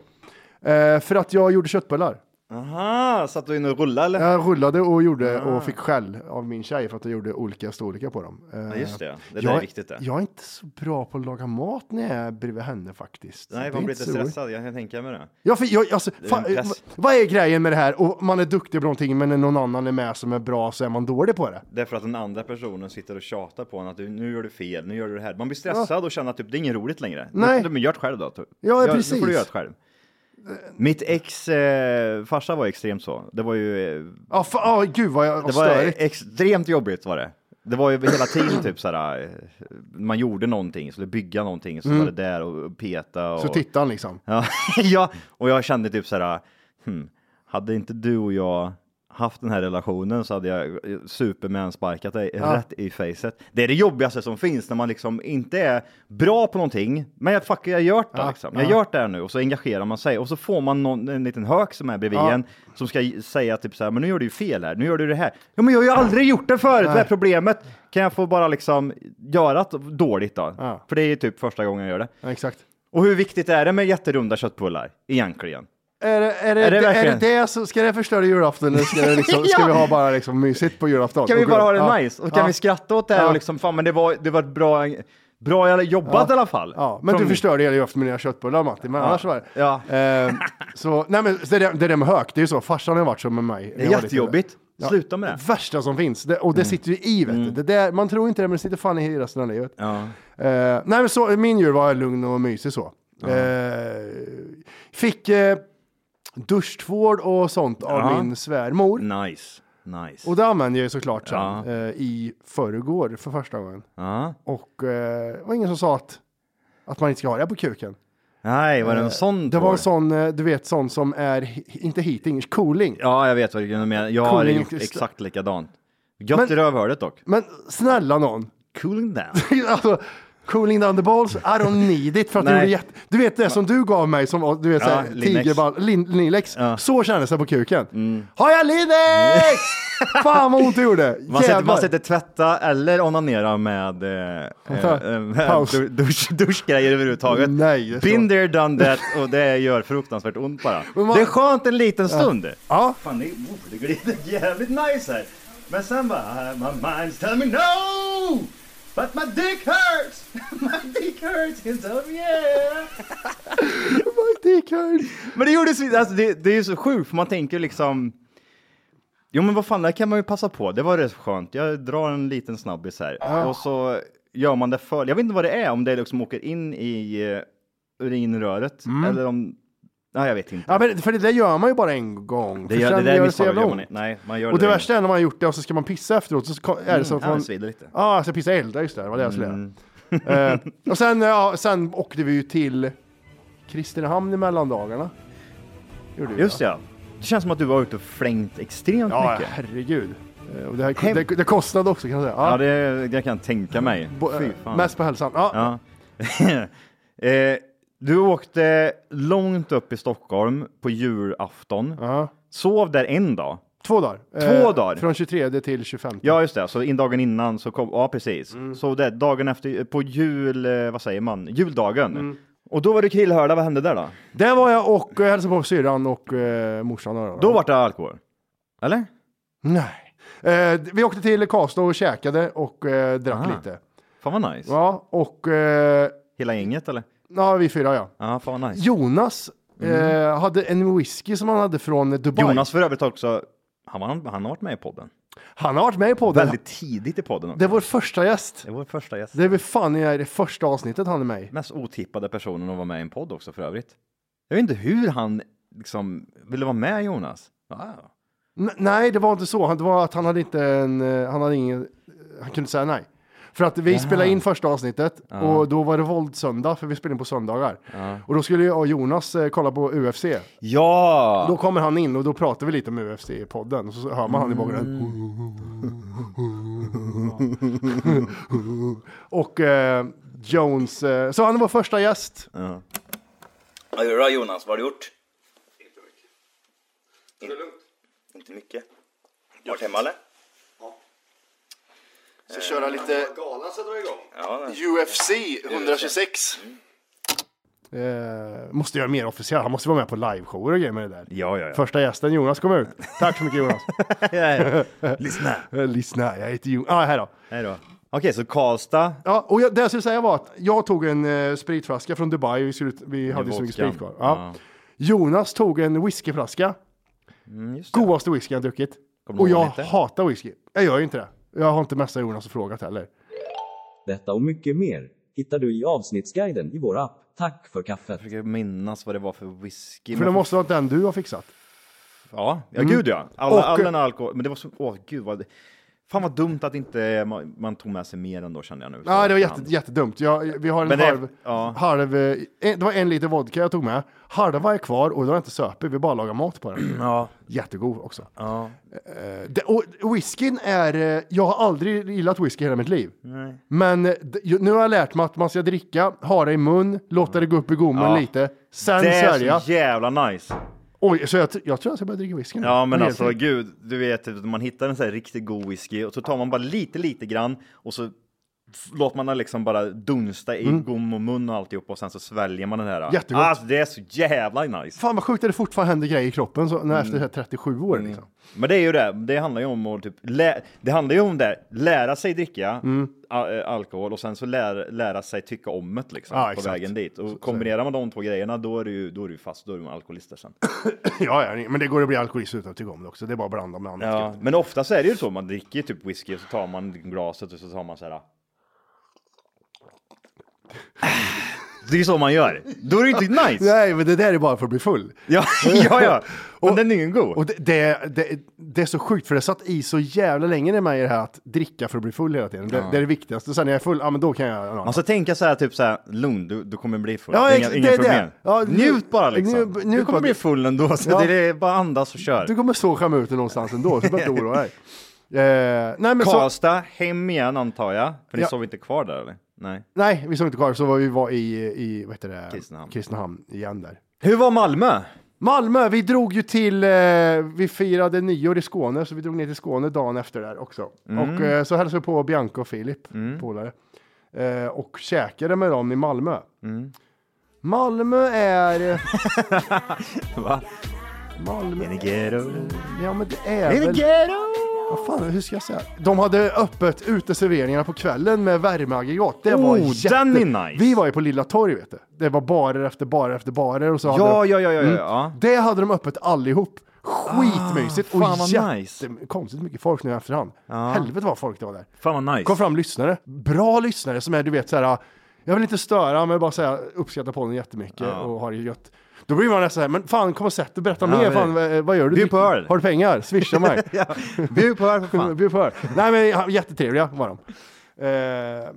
Eh, för att jag gjorde köttbullar. Aha, satt du inne och rullade eller? Jag rullade och gjorde och fick skäll av min tjej för att jag gjorde olika storlekar på dem. Ah. Eh, Ja, just det. Det där jag, är viktigt det. Jag är inte så bra på att laga mat när jag är bredvid henne faktiskt. Det Nej, är man blir inte lite så roligt. stressad, jag kan tänka mig det. Ja, för jag, alltså, Det är fan, en press. vad- vad är grejen med det här? Och man är duktig på någonting, men när någon annan är med som är bra så är man dålig på det. Det är för att den andra personen sitter och tjatar på en att du, nu gör du fel, nu gör du det här. Man blir stressad och känner att typ, det är inget roligt längre. Nej. Men gör det själv då. Typ. Ja, Gör- Nu precis. får du göra det själv. Mitt ex eh, farsa var extremt så. Det var ju... Eh, Ja, fa- ja, gud vad jag det var störigt. extremt jobbigt var det. Det var ju hela tiden typ såhär, eh, man gjorde någonting, skulle bygga någonting, så Mm. var det där och peta och... Så tittar han liksom. Ja, ja, och jag kände typ så här, hmm, hade inte du och jag haft den här relationen så hade jag superman-sparkat dig Ja. rätt i facet. Det är det jobbigaste som finns när man liksom inte är bra på någonting, men jag, fuck, jag har gjort det Ja, liksom. Jag har ja. gjort det här nu och så engagerar man sig och så får man någon, en liten hök som är bredvid Ja. en som ska j- säga typ så här, men nu gör du ju fel här, nu gör du det här. Ja, men jag har ju aldrig gjort det förut, vad är Nej. problemet? Kan jag få bara liksom göra det dåligt då? För det är ju typ första gången jag gör det. Ja, exakt. Och hur viktigt är det med jätterunda köttbullar egentligen? Är det, är det, Är är det det, verkligen- det som- ska det förstöra julafton eller ska, det liksom, ska Ja. vi ha bara liksom mysigt på julafton? Kan vi Och bara ha det gå- ja. nice? Och kan Ja. vi skratta åt det här Ja. och liksom, fan men det var, det var ett bra, bra jävla jobbat Ja. i alla fall. Ja, men Från- du förstörde hela julafton med dina köttbullar Matti, men Ja. annars var det. Ja. Ehm, så, nej men så det, där- det där med hök, det är ju så, farsan har varit så med mig. Det är jättejobbigt. Sluta med det. Mm. det. Värsta som finns. Det, och det sitter ju i vet du. Det där, man tror inte det men det sitter fan i resten av livet. Eh, nej men så, min jul var lugn och mysig så. Eh, fick eh, duschtvål och sånt av Ja. min svärmor. Nice. Nice. Och det använde jag ju såklart sen eh, i förrgår för första gången. Ja. Och eh, det var ingen som sa att, att man inte ska ha det på kuken. Nej, var det Eh, en sån Det var en tår? sån, eh, du vet, sån som är, he- inte heating, cooling. Ja, jag vet vad du menar. Jag har Cooling- gjort exakt likadant. Gött i rövhålet dock. Men snälla någon. Cooling down. alltså, cooling down the balls, I don't need it. För att du, Nej. gjorde jätte... du vet det som du gav mig som var, du vet, Ja, såhär, Linex. tigerball, lin, Linex. Så kändes det på kuken. Mm. Har jag Linex? Fan vad ont det gjorde. Man sätter, Jävlar. man sätter tvätta eller onanera med, eh, eh, med Paus. du- dusch, duschgrejer överhuvudtaget. Nej, det är så. Been there, done that och det gör fruktansvärt ont bara. Men man- Det är skönt en liten Ja. stund. Ja. Fan, det, oh, det glider jävligt nice här. Men sen bara, "Ah, my mind's telling me no! But my dick hurts! My dick hurts! It's over yeah! my dick hurts! Men det gjorde så, alltså, det, det är ju så sjukt för man tänker liksom Jo men vad fan, det här kan man ju passa på. Det var rätt skönt. Jag drar en liten snabbis här. Ja. Och så gör man det för... Jag vet inte vad det är, om det liksom åker in i eh, urinröret. Eller om... Nej, jag vet inte. Mm. Ja, men för det där gör man ju bara en gång. Det För gör- sen det där gör så misstaget jävla gör man ont. i- nej, man gör och det det där värsta är när man har gjort det och så ska man pissa efteråt. Så ko- är det Mm, så att ja, man... det svider lite. Mm. Ja, alltså pissa elda, just det. Det var det jag skulle göra. Eh, och sen, ja, sen åkte vi ju till Kristinehamn i mellandagarna. Gjorde vi, Just ja. Det känns som att du var ute och flängt extremt Ja, mycket. herregud. Eh, Och det, här, det, det kostade också kan jag säga. Ja, Ja. det, det kan jag tänka mig. Bo- eh, Fy fan. mest på hälsan. Ja. Ja. eh, du åkte långt upp i Stockholm på julafton. Sov där en dag. Två dagar. Två Eh, dagar? Från 23 till 25. Ja, just det. Så in dagen innan så kom, ja precis. Mm. Så det, dagen efter, på jul, eh, vad säger man, juldagen. Mm. Och då var du krillhörda, vad hände där då? Där var jag och eh, hälsade på syrran och eh, morsan. Då, Då var det alkohol? Eller? Nej. Eh, vi åkte till Karlstad och käkade och eh, drack Aha. lite. Fan vad nice. Ja, och... Eh, Hela gänget eller? ja, vi fyra ja. Ja, fan vad nice. Jonas Mm. eh, hade en whisky som han hade från Dubai. Jonas för övrigt också, han, han, han har varit med i podden. Han har varit med i podden. Väldigt tidigt i podden också. Det är vår första gäst. Det var första gäst. Det är väl fan i det första avsnittet han är med i. Mest otippade personen att vara med i en podd också för övrigt. Jag vet inte hur han liksom ville vara med Jonas. Ah. N- nej, det var inte så. Han- Det var att han hade inte en... eh, Han hade ingen... Han kunde säga nej. För att vi Jaha. spelade in första avsnittet Ja. och då var det våldsöndag för vi spelade in på söndagar. Ja. Och då skulle jag och Jonas eh, kolla på UFC. Ja! Då kommer han in och då pratar vi lite om UFC i podden. Och så hör man han i bakgrunden. Mm. Och eh, Jones. Eh, så han var första gäst. Ja, hur då Jonas, vad har du gjort? Inte mycket. Inte mycket? Varit hemma eller? Ska köra lite Galan ska dra igång. Ja, UFC 126. Eh, måste göra mer officiellt. Han måste vara med på liveshower och grejer med det där. Ja, ja, ja. Första gästen Jonas kom ut. Tack så mycket Jonas. ja. Lyssna. Eh, Lyssna, jag heter Jonas. Ah, här då. Hej då. Okej, så Karlstad. Ja, och jag, det jag skulle säga var att jag tog en eh, spritflaska från Dubai. Vi, skulle, vi hade ju så mycket vodkan. sprit kvar. Ja. Jonas tog en whiskyflaska. Mm, Godaste whisky jag druckit. Kommer du Och ihåg jag lite? hatar whisky. Jag gör ju inte det. Jag har inte messat Jonas och frågat heller. Detta och mycket mer hittar du i avsnittsguiden i vår app. Tack för kaffet. Jag försöker minnas vad det var för whisky. För det Men- måste vara den du har fixat. Ja, ja Mm. gud ja. Alla, Och- all den alkohol. Men det var så, åh gud vad... Fan vad dumt att inte man, man tog med sig mer ändå känner jag nu. Ja, det var jätte, Fan. jättedumt. Jag, vi har en Men det- halv, ja. halv eh, en, det var en liter vodka jag tog med. Halva är kvar och då har jag inte söper, vi bara lagar mat på den. Ja. Jättegod också. Ja. Eh, det, och whiskyn är, eh, jag har aldrig gillat whisky hela mitt liv. Nej. Men eh, d- ju- nu har jag lärt mig att man ska dricka, ha det i mun, låta det gå upp i gommen Ja. lite, sen det är svälja. så jävla nice. Oj, så jag, t- jag tror jag ska börja dricka whisky nu. Ja men Det är alltså helt- gud, du vet typ, man hittar en sån här riktigt god whisky och så tar man bara lite lite grann och så låter man den liksom bara dunsta i gom och mun och alltihop och sen så sväljer man den här. Mm. Jättegott. Alltså, det är så jävla nice. Fan vad sjukt att det fortfarande händer grejer i kroppen så, när efter så här 37 år. Liksom. Men det är ju det, det handlar ju om att typ, lä- det handlar ju om det, lära sig dricka Mm. a- eh, alkohol och sen så lära, lära sig tycka om det liksom Ja, på exakt. vägen dit. Så- så Och kombinerar man de två grejerna då är du ju, då är du ju fast, då är du alkoholist där sen. ja, ja, men det går att bli alkoholist utan att tycka om det också. Det är bara att blanda med annat. Ja, gött. men ofta så är det ju så, man dricker ju typ whisky och så tar man glaset och så tar man så här. ah. Det är ju så man gör. Då är det inte nice. Nej, men det där är bara för att bli full. Ja, ja, ja. Men den är ingen god. Och det, det, det, det är så sjukt, för det satt i så jävla länge i mig det här att dricka för att bli full hela tiden. Det, Ja. det är det viktigaste. Sen när jag är full, ja men då kan jag... Ja. Man ska tänka så här, typ så här, lugn, du, du kommer bli full. Ja, det är ex- inga, det inga är det. problem. Ja, njut, njut- bara liksom. njut- njut du bara. kommer bli full ändå, så Ja. det är bara andas och kör. Du kommer så skämma ut dig någonstans ändå, så du behöver inte oroa dig. Eh, nej, men så, Karlstad, hem igen antar jag. För ni Ja. sov inte kvar där eller? Nej. nej, vi såg inte kvar, så var vi var i, i vad heter det? Kristinehamn. Kristinehamn igen där. Hur var Malmö? Malmö, vi drog ju till, eh, vi firade nyår i Skåne, så vi drog ner till Skåne dagen efter där också. Mm. Och eh, så hälsade vi på Bianca och Filip, Mm. polare. Eh, och käkade med dem i Malmö. Mm. Malmö är... Va? Malmö... In the ghetto. Ja men det är In the väl... ghetto! Vad fan, hur ska jag säga? De hade öppet uteserveringarna på kvällen med värmeaggregat. Det var Oh, jätte... den är nice. Vi var ju på Lilla Torg vet du. Det var barer efter barer efter barer. Och så hade Ja, de... ja, ja, ja, Mm. ja. Det hade de öppet allihop. Skitmysigt Ah, fan och vad jätte... nice. konstigt mycket folk nu i efterhand. Helvete vad folk det var där. Fan vad nice. Kom fram lyssnare. Bra lyssnare som är du vet så här. Jag vill inte störa men bara säga uppskattar podden jättemycket Ja. och har det gött. Då blir man nästan så här, men fan kom och sätt dig, berätta Ja, mer, men- fan, vad- vad gör du? Bjud på öl. Har du pengar? Swisha mig. ja. Bjud på öl för fan. Bjud på öl. Nej men ja, jättetrevliga var de. Eh,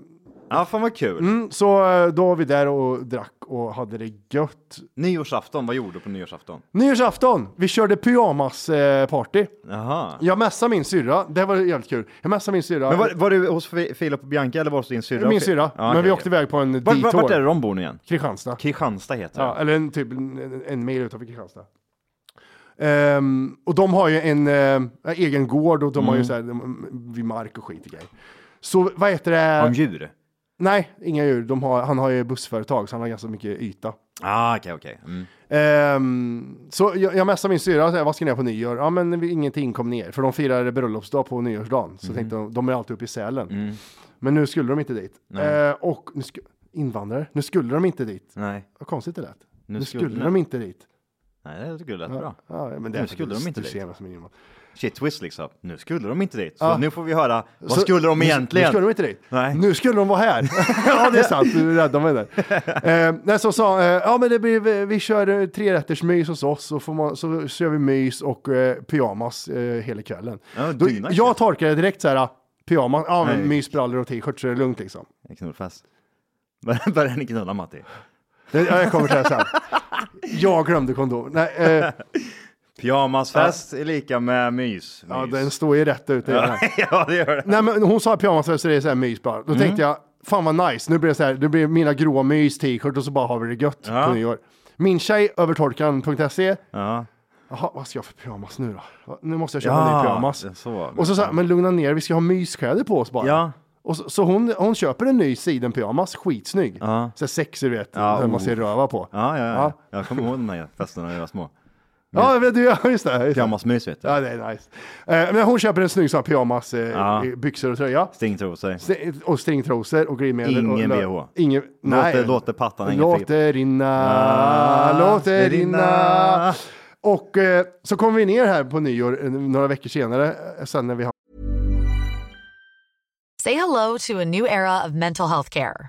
Ja, fan vad kul. mm, så eh, då var vi där och drack och hade det gött. Nyårsafton, vad gjorde du på nyårsafton? Nyårsafton, vi körde pyjamasparty. Eh, party. Jaha. jag messade min syrra, det var jävligt kul. Jag messade min syrra. Men var, var du hos Fi- Filip och Bianca eller var hos din syrra? Min och Fi- syrra, Ja, men okej, vi okej. åkte iväg på en Vart, detour. vart, vart är det de bor nu igen? Kristianstad. Kristianstad heter Ja, det. eller en, typ en, en mil utanför Kristianstad. Ehm, och de har ju en eh, egen gård och de har ju Mm. så här, de, vid mark och skit och grejer. Så vad heter det? Om djur? Nej, inga djur. De har, han har ju bussföretag så han har ganska mycket yta. Ah, okej, okej. Mm. Ehm, så jag, jag messade min syrra och sa, vad ska ni göra på nyår? Ja men vi, ingenting kom ner, för de firade bröllopsdag på nyårsdagen. Mhm. Så tänkte de, de är alltid uppe i Sälen. Men nu skulle de inte dit. Mm. Nej. Ehm, och nu sku, invandrare, nu skulle de inte dit. Nej. Vad konstigt det lät. Nu Nu, skulle, skulle- de inte dit. Nej, det tycker jag lät Ja, bra. ja, men det är nu för skulle att de du- inte du dit. ser vad som är innan. Shit twist liksom. Nu skulle de inte dit. Så Ja. nu får vi höra, vad Så- skulle de nu- egentligen? Nu skulle de inte dit. Nej. Nu skulle de vara här. ja, det är sant. Du räddade mig där. Eh, nej, så sa eh, ja men det blir, vi, vi kör eh, trerättersmys hos oss så, får man, så kör vi mys och eh, pyjamas eh, hela kvällen. Ja, Då, dynga. jag torkade direkt så här, pyjamas, ja men Nej. mys, brallor och t-shirt så är det lugnt liksom. Knullfest. Bör- Börjar ni knulla Matti? Det, ja, jag kommer till det här sen. Jag glömde kondom. Nej, eh, Pyjamasfest är lika med mys. mys. ja, den står ju rätt ut i den här. ja, det gör det. Nej men hon sa pyjamasfest så det är så här mys bara. Mm. Då tänkte jag, fan vad nice, nu blir det så här, det blir mina gråa mys, t-shirt och så bara har vi det gött Ja. på nyår. Min tjej, övertorkan.se, Ja. jaha vad ska jag för pyjamas nu då? Nu måste jag köpa en ny pyjamas. Så. Och så sa jag, men lugna ner vi ska ha myskläder på oss bara. Ja. Och så, så hon, hon köper en ny sidenpyjamas, skitsnygg. Ja. Så här sexig du vet, Ja, som man oh. ser röva på. Ja, ja, ja. Ja. Jag kommer ihåg de här festerna när jag var små. Ja, men du, ja just det. Just det. Pyjamasmys vet du. Ja, det är nice. Eh, men hon köper en snygg sån här pyjamas, eh, Ja. byxor och tröja. Stringtrosor. St- Och stringtrosor och glidmedel. Ingen och bh. Ingen, nej. Låter- låter pattan hänga Låt det rinna, Ah, låt det det rinna. rinna. Och eh, så kom vi ner här på nyår eh, några veckor senare, eh, sen när vi Say hello to a new era of mental health care.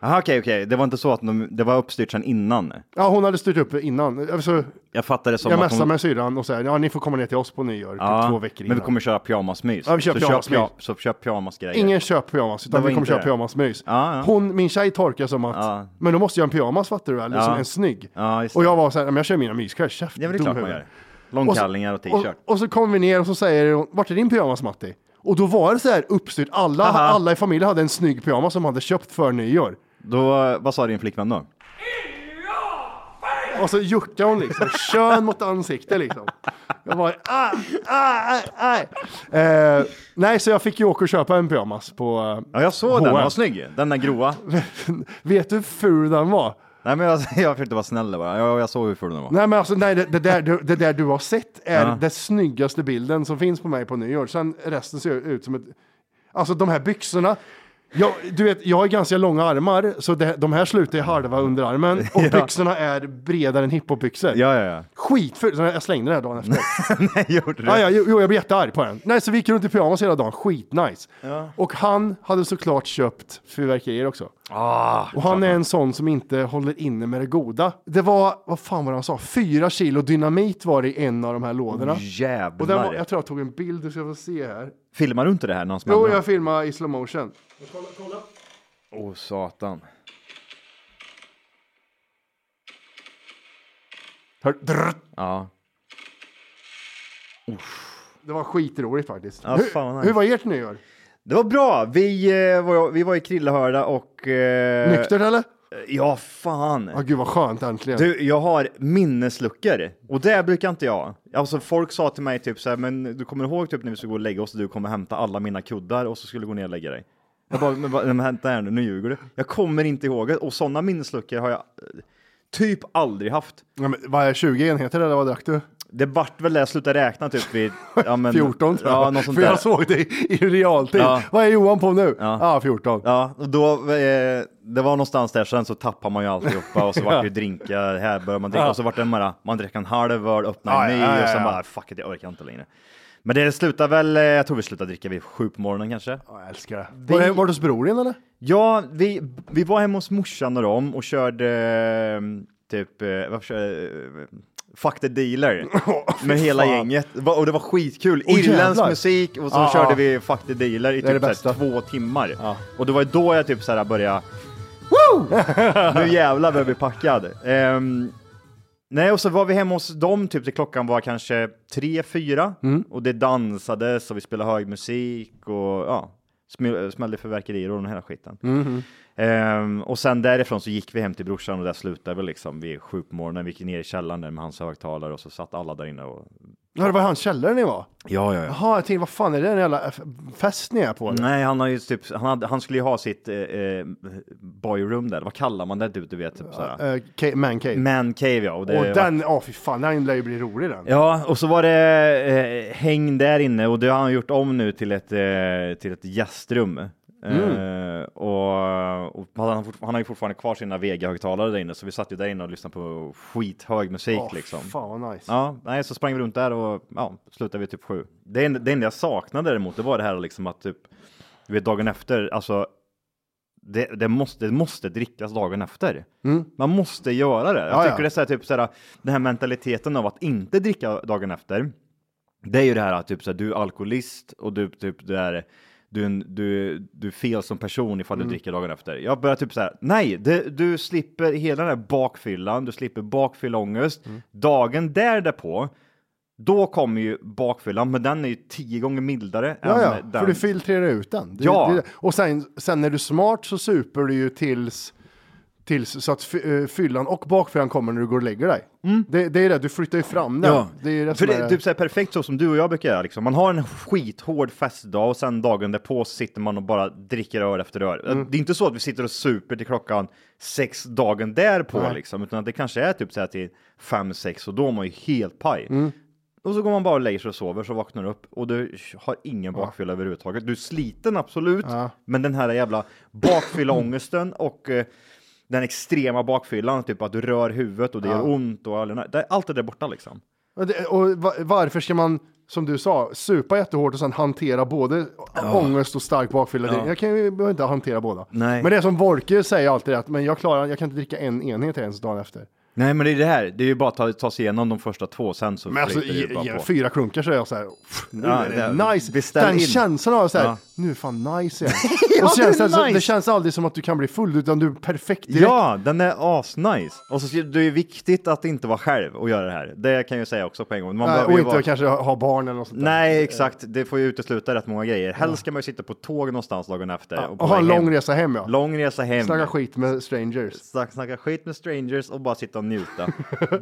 Jaha, okej, okej. Det var inte så att de, det var uppstyrt sedan innan? Ja, hon hade styrt upp innan. Alltså, Jag fattar det som jag att messade hon... med syrran och sa, ja ni får komma ner till oss på nyår, typ två veckor innan. men vi kommer köra pyjamasmys. Ja, vi kör så, pyjamasmys. Köp, pya- så köp pyjamasgrejer. Ingen köp pyjamas, Det utan var vi kommer inte köra det. pyjamasmys. Ja, ja. Hon, min tjej tolkar som att, men då måste jag ha en pyjamas fattar du väl, Ja. som en snygg. Ja, just det. Och jag var så här, men jag kör mina myskläder, käft, Ja, men det är klart man dumhuvud. gör. Långkallingar och Och, t-shirt. och så kom vi ner och så säger hon, vart är din pyjamas Matti? Och då var det så här uppstyrt, alla, Aha. alla i familjen hade en snygg pyjamas som de hade köpt för nyår. Då, vad sa din flickvän då? eh, Och så juckade hon liksom, kön mot ansikte liksom. Jag var ah, ah, ah, ah. Eh, nej, så jag fick ju åka och köpa en pyjamas på eh, Ja, jag såg den. H&M. Den var snygg. Den där gråa. Vet du hur ful den var? Nej, men jag, jag försökte vara snäll där bara. Jag, jag såg hur ful den var. Nej men alltså nej, det, det, där, du- det där du har sett är Ja. den snyggaste bilden som finns på mig på nyår. Sen resten ser ut som ett... Alltså de här byxorna. Jag, du vet, jag har ganska långa armar så det, de här slutar i halva underarmen och Ja. byxorna är bredare än hiphopbyxor. Ja, ja, ja. Skitful! Så jag slängde den här dagen efter. Nej, gjorde du? Ja, ja, jo, jo, jag blev jättearg på den. Nej, så vi gick runt i pyjamas hela dagen. Skitnice. Ja. Och han hade såklart köpt fyrverkerier också. Ah, Och han är en sån som inte håller inne med det goda. Det var, vad fan var det han sa? Fyra kilo dynamit var det i en av de här lådorna. Åh, oh, jävlar. Och den var, jag tror jag tog en bild, du ska få se här. Filmar du inte det här när han Jo, smällde jag filmade i slow motion. Kolla, kolla. den? Åh, satan. Ja. Det var skitroligt faktiskt. Ja, hur, fan vad nice. hur var ert nyår? Det var bra. Vi, eh, var, vi var i Krillehörda och... Eh, Nyktert eller? Ja, fan. Ja, gud vad skönt äntligen. Du, jag har minnesluckor och det brukar inte jag. Alltså folk sa till mig typ så här, men du kommer ihåg typ när vi skulle gå och lägga oss och du kommer hämta alla mina kuddar och så skulle du gå ner och lägga dig. Jag bara, men vad- men vänta här nu, nu ljuger du. Jag kommer inte ihåg det och sådana minnesluckor har jag eh, typ aldrig haft. Ja, men, vad är 20 enheter eller vad drack du? Det vart väl det jag slutade räkna typ vid... Ja, men, 14 tror jag. Ja, något sånt För där. jag såg det i, i realtid. Ja. Vad är Johan på nu? Ja, 14. Ja, och då, eh, det var någonstans där, sen så tappar man ju alltihopa och så vart det ju drinkar, här börjar man dricka Ja. och så vart det bara, man drack en halv öl, öppnade Ja, en ny ja, ja, och sen ja. bara fuck it, jag orkar inte längre. Men det slutar väl, eh, jag tror vi slutar dricka vid sju på morgonen kanske. Jag älskar det. Var, det- var det hos bror igen eller? Ja, vi, vi var hemma hos morsan och dem och körde eh, typ, eh, varför körde, eh, Fuck the dealer med hela fan. gänget. Va- Och det var skitkul. Åh, Irländsk jävlar. musik och så Ja, körde ja. vi Fuck the dealer i Det är typ det så bästa. här, två timmar. Och det var ju då jag typ så här började nu jävlar börjar jag bli packad. Ehm, nej, och så var vi hemma hos dem typ till klockan var kanske tre, fyra och det dansades och vi spelade hög musik och ja, sm- smällde fyrverkerier och den här skiten. Mhm. Ehm, och sen därifrån så gick vi hem till brorsan och där slutade vi liksom vid sju på morgonen. Vi gick ner i källaren där med hans högtalare och så satt alla där inne och Ja, det var i hans källare ni var? ja, ja. Jaha, jag tänkte vad fan är det den jävla f- fest ni är på? eller? Nej, han, har ju typ, han, hade, han skulle ju ha sitt eh, eh, boyroom där. Vad kallar man det? Du, du vet, typ såhär. Eh, ca- man cave. Man cave, ja. Och, det och var- den, ja fy fan, den lär ju bli rolig den. Ja, och så var det eh, häng där inne och det har han gjort om nu till ett, eh, till ett gästrum. Eh, och och han, har fort- han har ju fortfarande kvar sina Vega-högtalare där inne så vi satt ju där inne och lyssnade på skithög musik Åh, liksom. Fan vad nice. Ja, nej, så sprang vi runt där och ja, slutade vi typ sju. Det, en- det enda jag saknade däremot, det var det här liksom att typ, du vet dagen efter, alltså det, det, måste, det måste drickas dagen efter. Man måste göra det. Jag Mm. Ja, ja. tycker det är så här, typ så här, den här mentaliteten av att inte dricka dagen efter. Det är ju det här att typ så här, du är alkoholist och du typ det är du, är en- du, du är fel som person ifall du Mm. dricker dagen efter. Jag börjar typ så här, nej, det, du slipper hela den här bakfyllan, du slipper bakfyllångest. Mm. Dagen där därpå, då kommer ju bakfyllan, men den är ju tio gånger mildare Ja, ja, än för den. du filtrerar ut den. Det, Ja. det, och sen, sen när du är smart så super du ju tills tills så att fy- eh, fyllan och bakfyllan kommer när du går och lägger dig. Det, det är det, du flyttar ju fram den. Mm. Ja. Det är det För som det är... är typ så här perfekt så som du och jag brukar göra. Liksom. Man har en skithård festdag och sen dagen därpå sitter man och bara dricker öl efter öl. Mm. Det är inte så att vi sitter och super till klockan sex dagen därpå, Nej. liksom, utan att det kanske är typ så här till fem, sex och då är man ju helt paj. Mm. Och så går man bara och lägger sig och sover, så vaknar du upp och du har ingen bakfylla överhuvudtaget. Du är sliten, absolut, men den här jävla bakfylla-ångesten och eh, den extrema bakfyllan, typ att du rör huvudet och det Ja. gör ont och all, det, allt det där borta liksom. Och det- Och va- varför ska man, som du sa, supa jättehårt och sen hantera både ångest och stark bakfylla? Ja. Jag kan ju jag behöver inte hantera båda. Nej. Men det är som Wolke säger alltid, att men jag, klarar, jag kan inte dricka en enhet ens dagen efter. Nej, men det är det här. Det är ju bara att ta, ta sig igenom de första två, sen så Men alltså, flyter det ge, bara ge på. fyra klunkar så är jag så här, "Pff, nu Ja, är det, det- nice. beställ Den in. känslan har jag så här, Ja. nu är fan nice igen. Ja, och så känns det det, är så- nice. det känns aldrig som att du kan bli full, utan du är perfekt direkt. Ja, den är asnice. Och så det är ju viktigt att inte vara själv och göra det här. Det kan jag ju säga också på en gång. Man Nej, behöver och ju inte vara... kanske ha ha barn eller något sånt där. Nej, exakt. Det får ju utesluta rätt många grejer. Helst ska man ju sitta på tåg någonstans dagen efter. Ja, på och ha en väg lång resa hem ja. Lång resa hem. Snacka skit med strangers. Snack, snacka skit med strangers och bara sitta och njuta.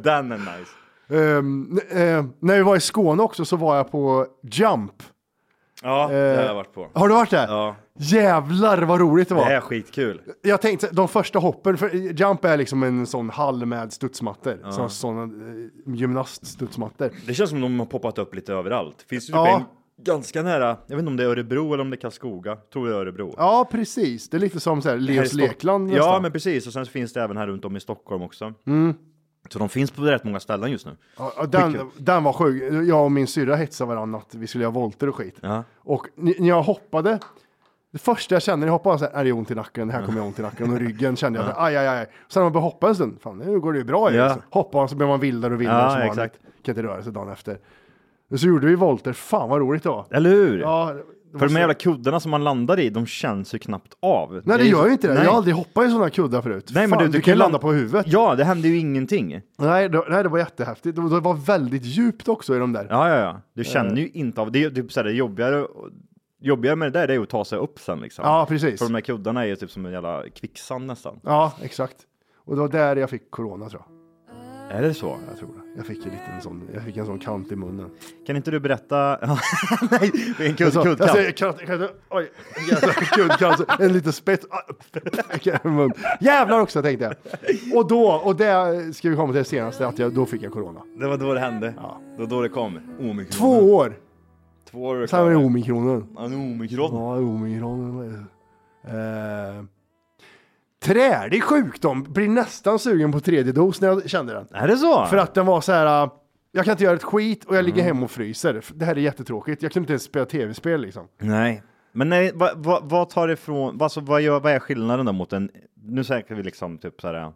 den är nice. Ehm, n- eh, när vi var i Skåne också så var jag på Jump. Ja, det har jag varit på. Har du varit där? Ja. Jävlar vad roligt det Det var. är skitkul. Jag tänkte, de första hoppen, för Jump är liksom en sån hall med studsmattor. Såna, såna eh, gymnaststudsmattor. Det känns som de har poppat upp lite överallt. Finns det typ Ja. en ganska nära, jag vet inte om det är Örebro eller om det är Karlskoga. Tror det är Örebro. Ja, precis. Det är lite som så här, Här i Leos Stock- Lekland Ja, nästan. men precis. Och sen så finns det även här runt om i Stockholm också. Mm. Så de finns på rätt många ställen just nu. Ja, ja, den, den var sjuk. Jag och min syrra hetsade varandra att vi skulle göra volter och skit. Ja. Och n- när jag hoppade, det första jag kände när jag hoppade var så här, är det ont i nacken, det här kommer jag ont i nacken och ryggen kände jag, så här, aj, aj, aj. Sen när man började hoppa en stund, fan nu går det ju bra ju. Ja. Liksom. Hoppar man så blir man vildare och Ja, vildare som vanligt. exakt. Kan inte röra sig dagen efter. Så gjorde vi volter, fan vad roligt det var. Eller hur? Ja, det För var de så- här jävla kuddarna som man landar i, de känns ju knappt av. Nej det gör ju inte det, Nej. jag har aldrig hoppat i sådana kuddar förut. Nej, men fan, du- du du kan kan ju ju landa land- på huvudet. Ja, det händer ju ingenting. Nej, det, nej, det var jättehäftigt. Det, det var väldigt djupt också i de där. Ja, ja, ja. Eh. Du känner ju inte av det. är ju Typ såhär, det jobbigare, jobbigare med det där det är ju att ta sig upp sen liksom. Ja, precis. För de här kuddarna är ju typ som en jävla kvicksand nästan. Ja, exakt. Och det var där jag fick corona tror jag. Är det så? Jag tror det. Jag fick en liten sån, jag fick en sån kant i munnen. Kan inte du berätta? Nej, det är en kudd, Alltså, kuddkant. alltså, jag kan- jag kan- Oj, jävlar, kuddcancer. En liten Ah, spett. i munnen. Jävlar också tänkte jag. Och då, och det ska vi komma till det senaste, att jag, då fick jag corona. Det var då det hände. Ja. Det var då det kom. Omikron. Två år! Två år Sen var det omikronen. Ja, det är omikron. Ja, omikronen. Uh, trälig sjukdom. Blir nästan sugen på tredje dos när jag kände den. Är det så? Mm. För att den var så här. äh, Jag kan inte göra ett skit och jag ligger hemma och fryser. F- Det här är jättetråkigt. Jag kan inte ens spela tv-spel liksom. Nej. Men nej, vad, vad, vad tar det ifrån, alltså, vad, gör, vad är skillnaden då mot en, nu säkert vi liksom typ så här.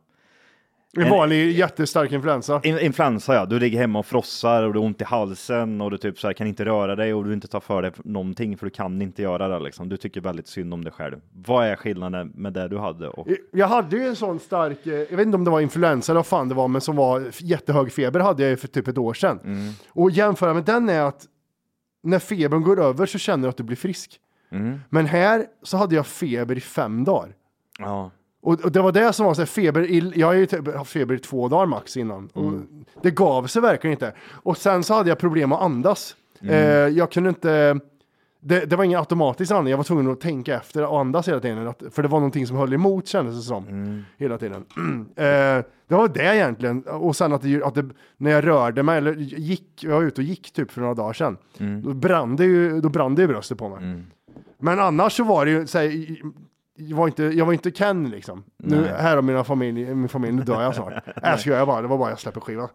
En vanlig jättestark influensa. In, influensa ja, du ligger hemma och frossar och du har ont i halsen och du typ så här, kan inte röra dig och du inte tar för dig någonting för du kan inte göra det liksom. Du tycker väldigt synd om dig själv. Vad är skillnaden med det du hade? Och, Jag hade ju en sån stark, eh, jag vet inte om det var influensa eller vad fan det var, men som var f- jättehög feber hade jag ju för typ ett år sedan. Mm. Och jämföra med den är att när febern går över så känner du att du blir frisk. Mm. Men här så hade jag feber i fem dagar. ja. Och, och det var det som var så här, feber, i, jag har ju typ haft feber i två dagar max innan. Och det gav sig verkligen inte. Och sen så hade jag problem att andas. Eh, jag kunde inte, det, det var ingen automatisk andning, jag var tvungen att tänka efter och andas hela tiden. Att, för det var någonting som höll emot kändes det som. Hela tiden. eh, det var det egentligen. Och sen att, det, att det, när jag rörde mig, eller gick, jag var ute och gick typ för några dagar sedan. Då brann det ju, då brann det ju bröstet på mig. Men annars så var det ju, så här, i- jag var inte, jag var inte Ken liksom. Nu, Nej. här har mina familj, min familj, nu dör jag snart. Äh, så gör jag bara, det var bara jag släpper skivan.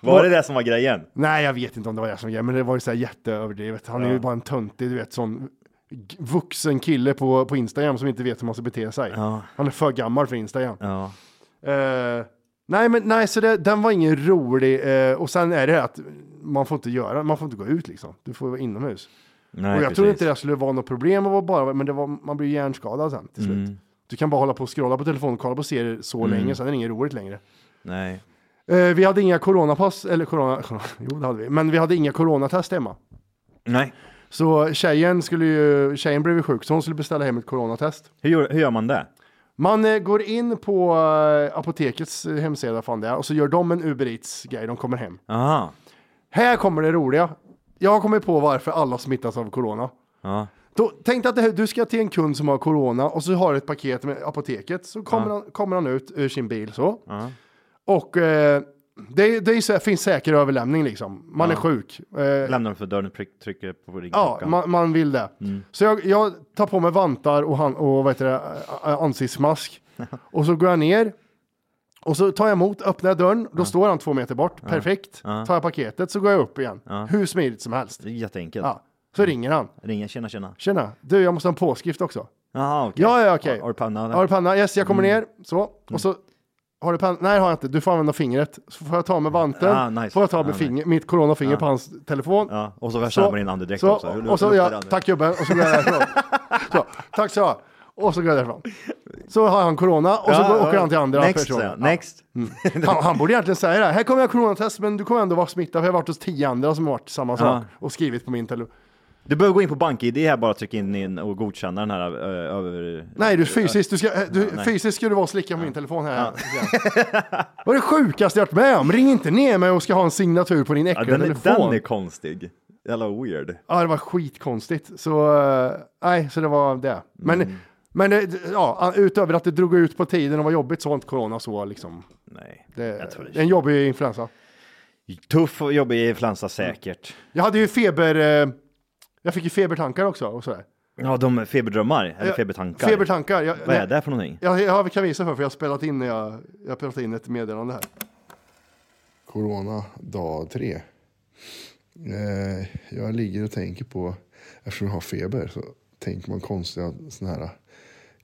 Var det det som var grejen? Nej, jag vet inte om det var jag som gjorde, men det var ju så här jätteöverdrivet. Han är ju Ja. bara en töntig, du vet, sån g- vuxen kille på, på Instagram som inte vet hur man ska bete sig. Ja. Han är för gammal för Instagram. Ja. Eh, nej, men nej, så det, den var ingen rolig. eh, och sen är det att man får inte göra, man får inte gå ut liksom. Du får vara inomhus. Nej, och jag trodde precis. inte det skulle vara något problem, att vara bara, men det var, man blir ju hjärnskadad sen till slut. Mm. Du kan bara hålla på och scrolla på telefonen, kolla på serier så länge, sen är det inget roligt längre. Nej. Eh, vi hade inga coronapass, eller corona, jo det hade vi, men vi hade inga coronatest hemma. Nej. Så tjejen, skulle ju, tjejen blev ju sjuk, så hon skulle beställa hem ett coronatest. Hur, gör- hur gör man det? Man eh, går in på eh, apotekets eh, hemsida fan det är, och så gör de en Uber Eats-grej, de kommer hem. Aha. Här kommer det roliga. Jag har kommit på varför alla smittas av corona. Ja. Då, tänk dig att det, du ska till en kund som har corona och så har du ett paket med apoteket. Så kommer, Ja. han, kommer han ut ur sin bil så. Ja. Och eh, det, är- det är så här, finns säker överlämning liksom. Man Ja. är sjuk. Eh, Lämnar dem för dörren och tryck- trycker på Ja, ringklockan. man, man vill det. Mm. Så jag, jag tar på mig vantar och, han, och vad heter det, ä- ansiktsmask. och så går jag ner. Och så tar jag emot, öppnar jag dörren, då står han två meter bort, perfekt. Ja. Tar jag paketet så går jag upp igen. Ja. Hur smidigt som helst. Jätteenkelt. Ja. Så ringer han. Ringer, tjena tjena. Tjena, du jag måste ha en påskrift också. Jaha okej. Ja, ja, okej. Har du panna? Har du panna? Yes, jag kommer Mm. ner. Så. Och så har du panna? Nej, har jag inte. Du får använda fingret. Så får jag ta med vanten. Ah, nice. Får jag ta Ah, med nice. finger, mitt coronafinger Ja. på hans telefon. Ja, och så värsta man in andedräkt så, också. Hur Och så luktar ja, det andedräkt? tack gubben. Och så går jag därifrån. så, tack så. Och så går jag därifrån. Så har han corona och så Ja, går, ja. åker han till andra Next, personer. säger jag. Next. Mm. Han, han borde egentligen säga det. Här Här kommer jag coronatest men du kommer ändå vara smittad för jag har varit hos tio andra som har varit samma sak. och skrivit på min telefon. Du behöver gå in på BankID här bara, trycka in din och godkänna den här eh, över... Nej, du fysiskt, du ska, eh, du, Ja, nej. fysiskt ska du vara och slicka på min telefon här. Ja. Vad är det sjukaste jag varit med om? Ring inte ner mig och ska ha en signatur på din Ja, äckliga den, är, telefon. den är konstig. Jävla weird. Ja, det var skitkonstigt. Så, eh, nej, så det var det. Men, Mm. men eh, ja, utöver att det drog ut på tiden och var jobbigt så var inte corona så liksom. Nej, det, det är en jobbig influensa. Tuff och jobbig influensa säkert. Jag hade ju feber, eh, jag fick ju febertankar också och sådär. Ja, de feberdrömmar, eller Mm. Ja, febertankar. febertankar, ja, Vad är nej. det för någonting? Jag, jag kan visa för, för jag har spelat in, när jag, jag har spelat in ett meddelande här. Corona dag tre. Eh, jag ligger och tänker på, eftersom jag har feber så tänker man konstiga såna här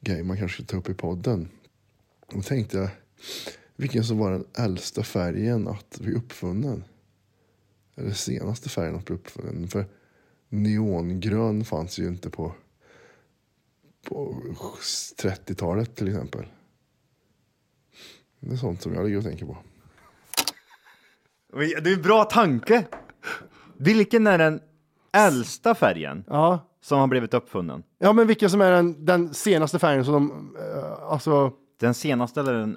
grejer man kanske ska ta upp i podden. Då tänkte jag, vilken som var den äldsta färgen att bli uppfunnen? Eller senaste färgen att bli uppfunnen? För neongrön fanns ju inte på, på 30-talet till exempel. Det är sånt som jag ligger och tänker på. Men Det är en bra tanke. Vilken är den äldsta färgen som har blivit uppfunnen? Ja, men vilken som är den, den senaste färgen som de, eh, alltså, Den senaste eller den...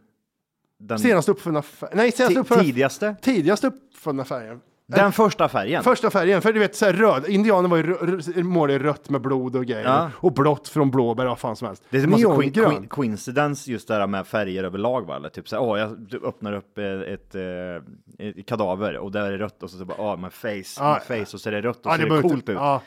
den senast uppfunna färgen? Nej, senast Ti- uppfunna, tidigaste? tidigast uppfunna färgen. Den Eh, första färgen? Första färgen, för du vet så här röd, indianer var ju rö- rö- målade i rött med blod och grejer. Ja. Och blått från blåbär och vad fan som helst. Det måste vara coin- Neongrön. coin- coincidence just det här med färger överlag va? Eller typ såhär, åh jag du öppnar upp eh, ett, eh, ett kadaver och där är det rött och så, så bara, åh my face, Ja. my face och så är det rött och Ja, så ser det Ah, behöver coolt inte- ah. ut.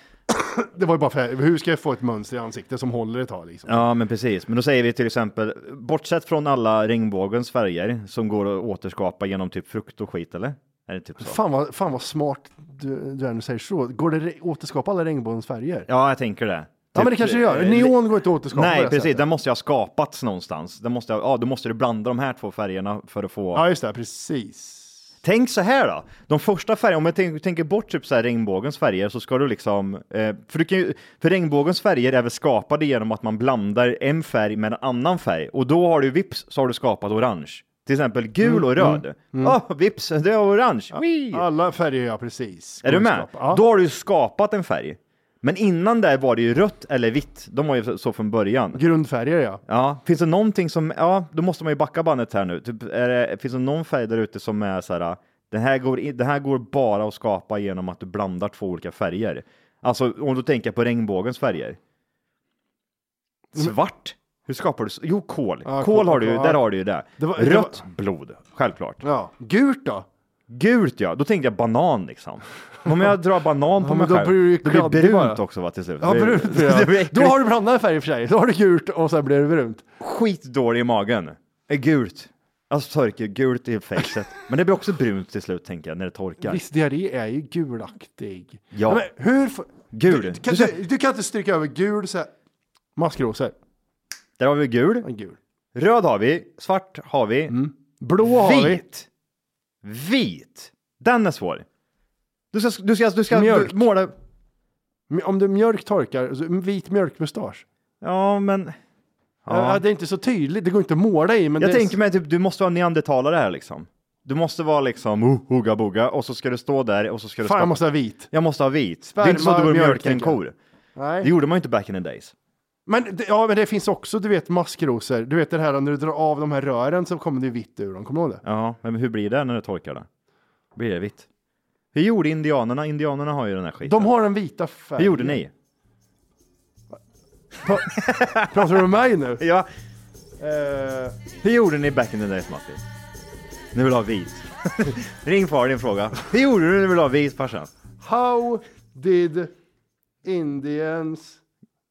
Ja. Det var ju bara färg. Hur ska jag få ett mönster i ansiktet som håller ett tag liksom? Ja, men precis. Men då säger vi till exempel, bortsett från alla regnbågens färger som går att återskapa genom typ frukt och skit, eller? Är det typ så? Fan vad, fan vad smart du, du är när du säger så. Går det re- återskapa alla regnbågens färger? Ja, typ jag tänker det. Eh, Ja, men det kanske det gör. Neon går inte att återskapa på Nej, det precis. sättet. Den måste jag ha skapats någonstans. Den måste jag, ja, då måste du blanda de här två färgerna för att få... Ja, just det. Precis. Tänk så här då. De första färgerna, om jag tänk, tänker bort typ så här regnbågens färger så ska du liksom... Eh, för, du kan ju, för regnbågens färger är väl skapade genom att man blandar en färg med en annan färg. Och då har du vips så har du skapat orange. Till exempel gul Mm, och röd. mm, Mm. vips, det är orange. Whee! Alla färger, ja precis. Är du med? Kunskap. Ja. Då har du ju skapat en färg. Men innan där var det ju rött eller vitt. De var ju så från början. Grundfärger ja. Ja, finns det någonting som, ja, då måste man ju backa bandet här nu. Typ, är det, finns det någon färg där ute som är så här, den här, går, in- den här går bara att skapa genom att du blandar två olika färger. Alltså om du tänker på regnbågens färger. Svart? Hur skapar du? s- Jo, kol. Ja, kol kol- har du ju, ja. där har du ju det. Det var- det var- Rött blod, självklart. Ja. Gult då? Gult ja, då tänkte jag banan liksom. Om jag drar banan på Ja, mig men då själv, blir det ju då blir kladdig brunt bara. också va till slut. Ja, Det- brunt blir det blir det. äckligt. Då har du blandade färger för sig. Då har du gult och sen blir det brunt. skitdålig i magen. Är gult. Alltså torkar gult i facet. Men det blir också brunt till slut tänker jag när det torkar. Viss diarré är ju gulaktig. Ja. Nej, Men hur... fa- Gul. Du, kan, du, du kan inte stryka över gul så här. Maskrosor. Där har vi gul. gul. Röd har vi. Svart har vi. Mm. Blå har vi. Vit. Vit. Den är svår. Du ska, du ska, du ska Mjölk. Du, måla. Men Om du mjölk torkar, så vit mjölkmustasch. Ja, men... Ja. Ja. Det är inte så tydligt, det går inte att måla i. Men jag det är- tänker mig typ, du måste vara neandertalare här liksom. Du måste vara liksom oh, hugga boga och så ska du stå där och så ska du Fan, skapa- jag måste ha vit. Jag måste ha vit. det är inte så att du Sperma, går och mjölk, mjölkar en tänker jag. kor. Nej. Det gjorde man ju inte back in the days. Men, det- ja, men det finns också, du vet, maskrosor. Du vet det här när du drar av de här rören så kommer det vitt ur dem. Kommer du ihåg det? Ja, men hur blir det när du torkar det? Blir det vitt? Hur gjorde indianerna? Indianerna har ju den här skiten. De har den vita färgen. Hur gjorde ni? Pratar du med mig nu? Eh, Ja. Hur gjorde ni back in the days Matti? Ni vill ha vit. Ring far din fråga. Hur gjorde du när du ville ha vit farsan? How did Indians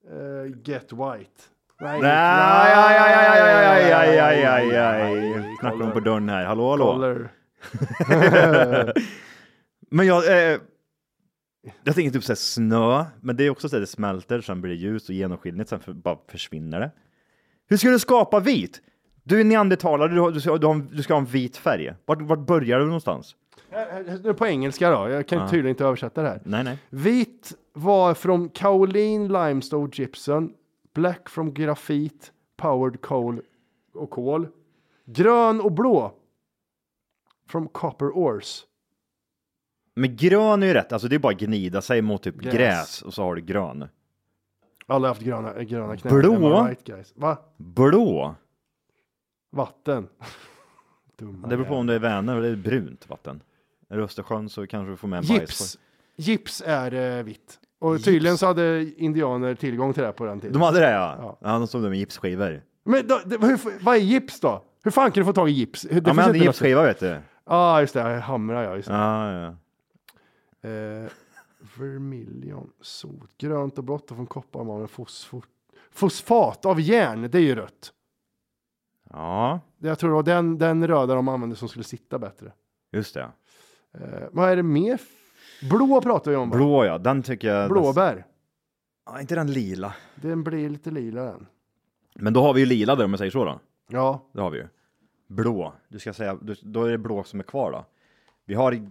eh, get white? Nej, Nej, aj, aj, aj, aj, aj, aj, aj, aj, aj. Knackar de på dörren här. Hallå, hallå. Color. men jag... Eh, jag tänker typ såhär snö, men det är också så att det smälter, sen blir det ljust och genomskinligt, sen för, bara försvinner det. Hur ska du skapa vit? Du är neandertalare, du, har- du, ska, du, har, en- du ska ha en vit färg. Vart, vart börjar du någonstans? Eh, eh, Nu på engelska då, jag kan Ja. tydligen inte översätta det här. Nej, nej. Vit var från kaolin, limestone, gypsum. Black från grafit, powered coal och kol. Grön och blå. From copper ores. Men grön är ju rätt, alltså det är bara att gnida sig mot typ Gräs. gräs, och så har du grön. Alla har haft gröna, eh, gröna knän. Blå? Am I Right, guys. Va? Blå? Vatten. Det beror på om det är Vänern eller det är brunt vatten. Är det Östersjön så kanske du får med en Gips. Gips är eh, vitt. Och tydligen så hade indianer tillgång till det här på den bajskorv. tiden. De hade det ja. ja. de stod där med gipsskivor. Men då, det, hur, vad är gips då? Hur fan kan du få tag i gips? Det Ja, men finns han hade inte något- gipsskiva vet du. Ja, just det. Hamra, ja. Just det. Ja, ja. Eh, vermilion, sot, grönt och blått och från kopparmalmen fosfor. Fosfat av järn, det är ju rött. ja, Jag tror det var den, den röda de använde som skulle sitta bättre. just det. Eh, vad är det mer? f- Blå pratar vi om. va? Blå ja, den tycker jag. Blåbär. Ja, inte den lila. Den blir lite lila den. Men då har vi ju lila där om jag säger så då. Ja, Det har vi ju. Blå. Du ska säga, du, då är det blå som är kvar då. Vi har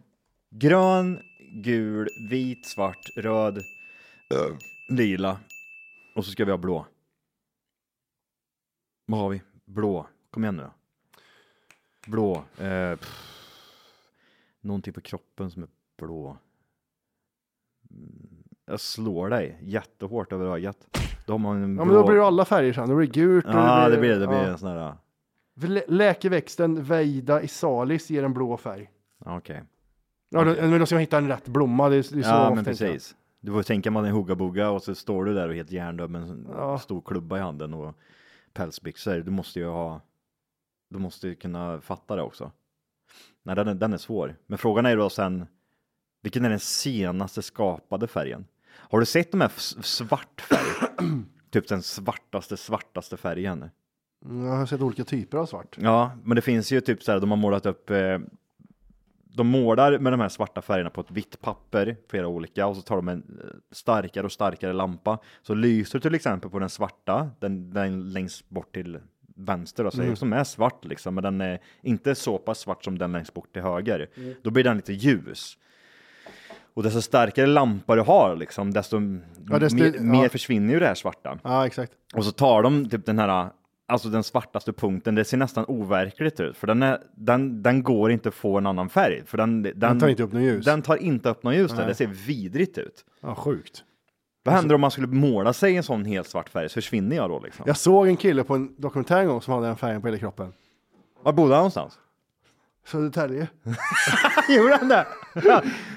grön, gul, vit, svart, röd, lila. Och så ska vi ha blå. Vad har vi? Blå. Kom igen nu då. Blå. Eh, pff. Någonting på kroppen som är blå. Mm, Jag slår dig jättehårt över ögat. Då har man en blå... ja men då blir det alla färger sen. Då blir det gult. och Ja, det blir det. blir ja. en sån här... Lä- Läkeväxten Veida isalis ger en blå färg. ja, Okej. Ja, då, men då ska man hitta en rätt blomma. Det är, det är så Ja, ofta, liksom. men tänker jag. precis. Du får tänka man är hugga-bugga och så står du där och är helt hjärndöd med en Ja. stor klubba i handen och pälsbyxor. Du måste ju ha... Du måste ju kunna fatta det också. Nej, den är, den är svår. Men frågan är ju då sen, vilken är den senaste skapade färgen? Har du sett de här f- svart färg? typ den svartaste, svartaste färgen. Mm, Jag har sett olika typer av svart. Ja, men det finns ju typ så här, de har målat upp, eh, de målar med de här svarta färgerna på ett vitt papper, flera olika, och så tar de en eh, starkare och starkare lampa. Så lyser till exempel på den svarta, den, den längst bort till vänster, alltså, Mm. som är svart liksom, men den är inte så pass svart som den längst bort till höger. Mm. Då blir den lite ljus. Och desto starkare lampa du har, liksom, desto, Ja, desto- mer, ja. mer försvinner ju det här svarta. Ja, exakt. Och så tar de typ den här, alltså den svartaste punkten, det ser nästan overkligt ut, för den, är, den, den går inte att få en annan färg. För den, den, Den tar inte upp något ljus. Den tar inte upp något ljus, där. Nej. det ser vidrigt ut. Ja, sjukt. Vad händer om man skulle måla sig i en sån helt svart färg, så försvinner jag då liksom? Jag såg en kille på en dokumentär en gång som hade den färgen på hela kroppen. Var bodde han någonstans? Södertälje. Gjorde han det?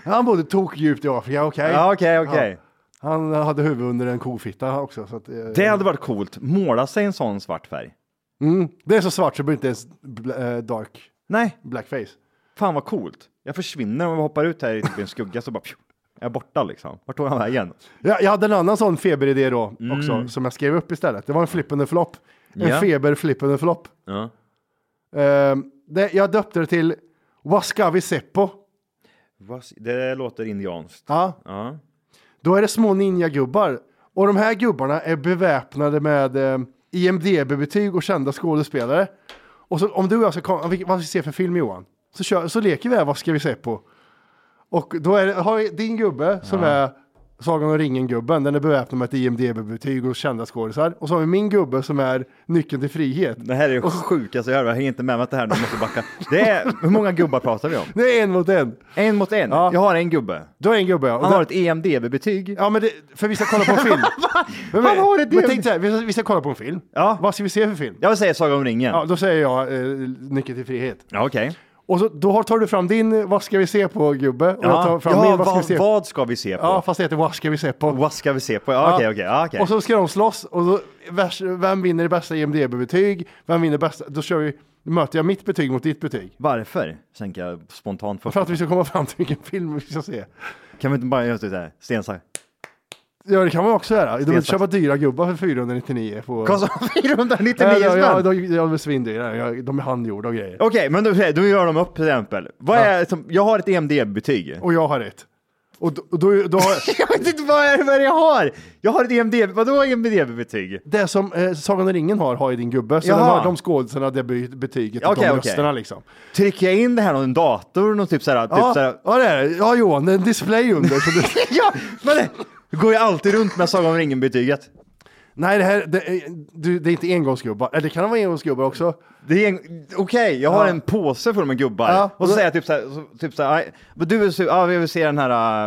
Han bodde tokdjupt i Afrika, okej. Ja, okej, okej. Ja. Han hade huvud under en kofitta också. Så att, eh, Det hade varit coolt, måla sig i en sån svart färg. mm, det är så svart så det blir inte ens bl- eh, dark Nej, blackface. fan vad coolt. Jag försvinner om jag hoppar ut här i typ en skugga så bara, pju, jag är borta liksom. Vart tog han vägen? Jag, jag hade en annan sån feberidé då också Mm. som jag skrev upp istället. Det var en flippande flopp. En Ja. feber flippande flopp. Ja. Ehm, det, jag döpte det till Waskavi Seppo. Vad- Det låter indianskt. Ja. Ja. Då är det små ninjagubbar. Och de här gubbarna är beväpnade med eh, IMDB-betyg och kända skådespelare. Och så om du och jag ska komma, vilken- vad ska vi se för film Johan? Så, kör, så leker vi här, vad ska vi se på? Och då är det, har vi din gubbe som Ja. är Sagan om ringen-gubben, den är beväpnad med ett IMDB-betyg och kända skådisar. Och så har vi min gubbe som är nyckeln till frihet. Det här är det sjukaste jag hör, jag hänger inte med mig att det här, nu måste jag backa. Det är, hur många gubbar pratar vi om? Det är en mot en. En mot en? Jag har en gubbe. Du har en gubbe ja. Och Han då- har ett E EMDB-betyg. Ja men det, för vi ska kolla på en film. men, Han har ett men EMDb. tänk så här, vi ska, vi ska kolla på en film. Ja. Vad ska vi se för film? Jag säger Sagan om ringen. Ja, då säger jag eh, Nyckeln till frihet. Ja, okej. Och så, då har- tar du fram din eh, Vad ska vi se på gubbe? Och jag Ja, tar fram ja, min Vad ska vi vad, se på? vad ska vi se på? Ja, fast det heter Vad ska vi se på? Vad ska vi se på? Ja, okej, okej. ja, okej. Och så ska de slåss och då, vers- vem vinner det bästa IMDB-betyg? Vem vinner bästa? Då kör vi, möter jag mitt betyg mot ditt betyg. Varför? Tänker jag spontant först. För att vi ska komma fram till vilken film vi ska se. Kan vi inte bara göra så här? Sten, sax. Ja, det kan man också göra. Du vill Stensax. köpa dyra gubbar för 499 på... Kostar 499 spänn? Ja, ja, de, de är svindyra. Ja, De är handgjorda och grejer. Okej, men då, då gör de upp till exempel. Vad är, som, jag har ett E EMDB-betyg. Och jag har ett. Och då, och då, då har... jag vet inte vad, är, vad är det jag har! Jag har ett E EMDB, vadå EMDB-betyg? Det som eh, Sagan om ringen har, har ju din gubbe. Så de Jaha. har de skådisarna, det by- betyget och Okej, de okej. rösterna liksom. Trycker jag in det här på en dator? Någon typ så här, typ ja, så här, ja, det är det. Ja, Johan, det är en display under. Så du... ja, men det går jag alltid runt med Sagan om ringen-betyget. Nej, det här det, är- du, det är inte engångsgubbar. Eller det kan vara engångsgubbar också. Det är en- Okej, jag har Ja. en påse full med gubbar. Ja, och och så då- säger jag typ så här, så- typ så här "Aj, men du vill se, ja, jag vill se den här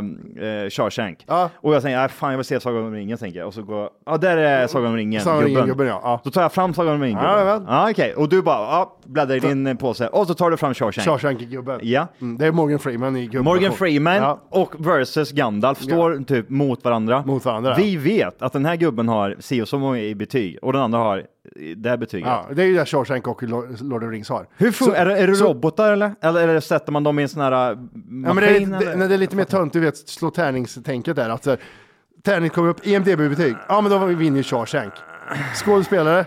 äh, Shawshank. Och jag tänker, "Aj, fan jag vill se Sagan om ringen tänker jag. Och så går jag, ja där är Sagan om ringen, Sagan om gubben. ringen-gubben, ja, ja. Då tar jag fram Sagan om ringen. Ja, gubben. ja okej. Och du bara, ja, bläddrar i din eh, påse. Och så tar du fram Shawshank. Shawshank-gubben. Ja. Mm, det är Morgan Freeman i gubben. Morgan Freeman Ja. och versus Gandalf står typ mot varandra. Mot varandra, ja. Vi vet att den här gubben har si och så många i betyg och den andra har eh, det här betyget. Ja, det är ju det Shawshank och Lord Lord of the Rings har. Hur fun- Så- är, det- är det så- robotar eller? eller? Eller sätter man dem i en sån här eh, Ja, men det, maskin? är, eller? det, nej, det är lite mer tönt, du vet, slå tärningstänket där. Att så här, tärning kommer upp, E EMDB-betyg. Ja, men då vinner ju Shawshank. Skådespelare?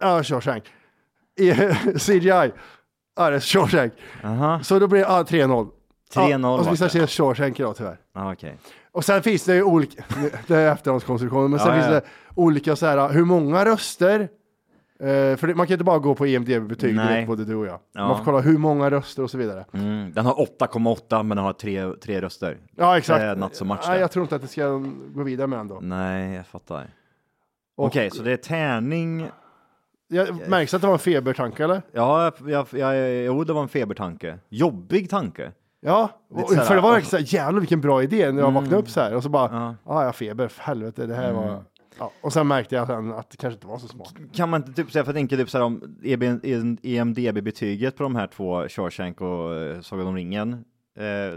Ja, Shawshank. E- CGI? Ja, det är Shawshank. Så då blir det ja, 3-0. 3-0 Ja, och så vart visar det. sig Shawshank idag tyvärr. Ah, okej. Och sen finns det ju olika, det är efterhandskonstruktioner, men sen Ja, ja. finns det olika så här, hur många röster? Eh, för det, man kan ju inte bara gå på EMDB-betyg Nej. direkt, både du och jag. Ja. Man får kolla hur många röster och så vidare. Mm, den har 8,8 men den har tre, tre röster. Ja, exakt. Det är natt som match Nej, där. jag tror inte att det ska gå vidare med ändå. Nej, jag fattar. Och- Okej, så det är tärning. Jag märks att det var en febertanke eller? Ja, jag, jag, jag, jo, det var en febertanke. Jobbig tanke. Ja, Lite och- så här, för det var ah. verkligen såhär, jävlar vilken bra idé när jag Mm. vaknade upp så här och så bara, ja, ah, jag har feber, för helvete, det här var... Ja, och sen märkte jag sen att det kanske inte var så smart. Kan man inte typ säga, för jag tänker typ så här om E EB- EMDB-betyget på de här två, Shawshank och eh, Sagan om ringen. Eh,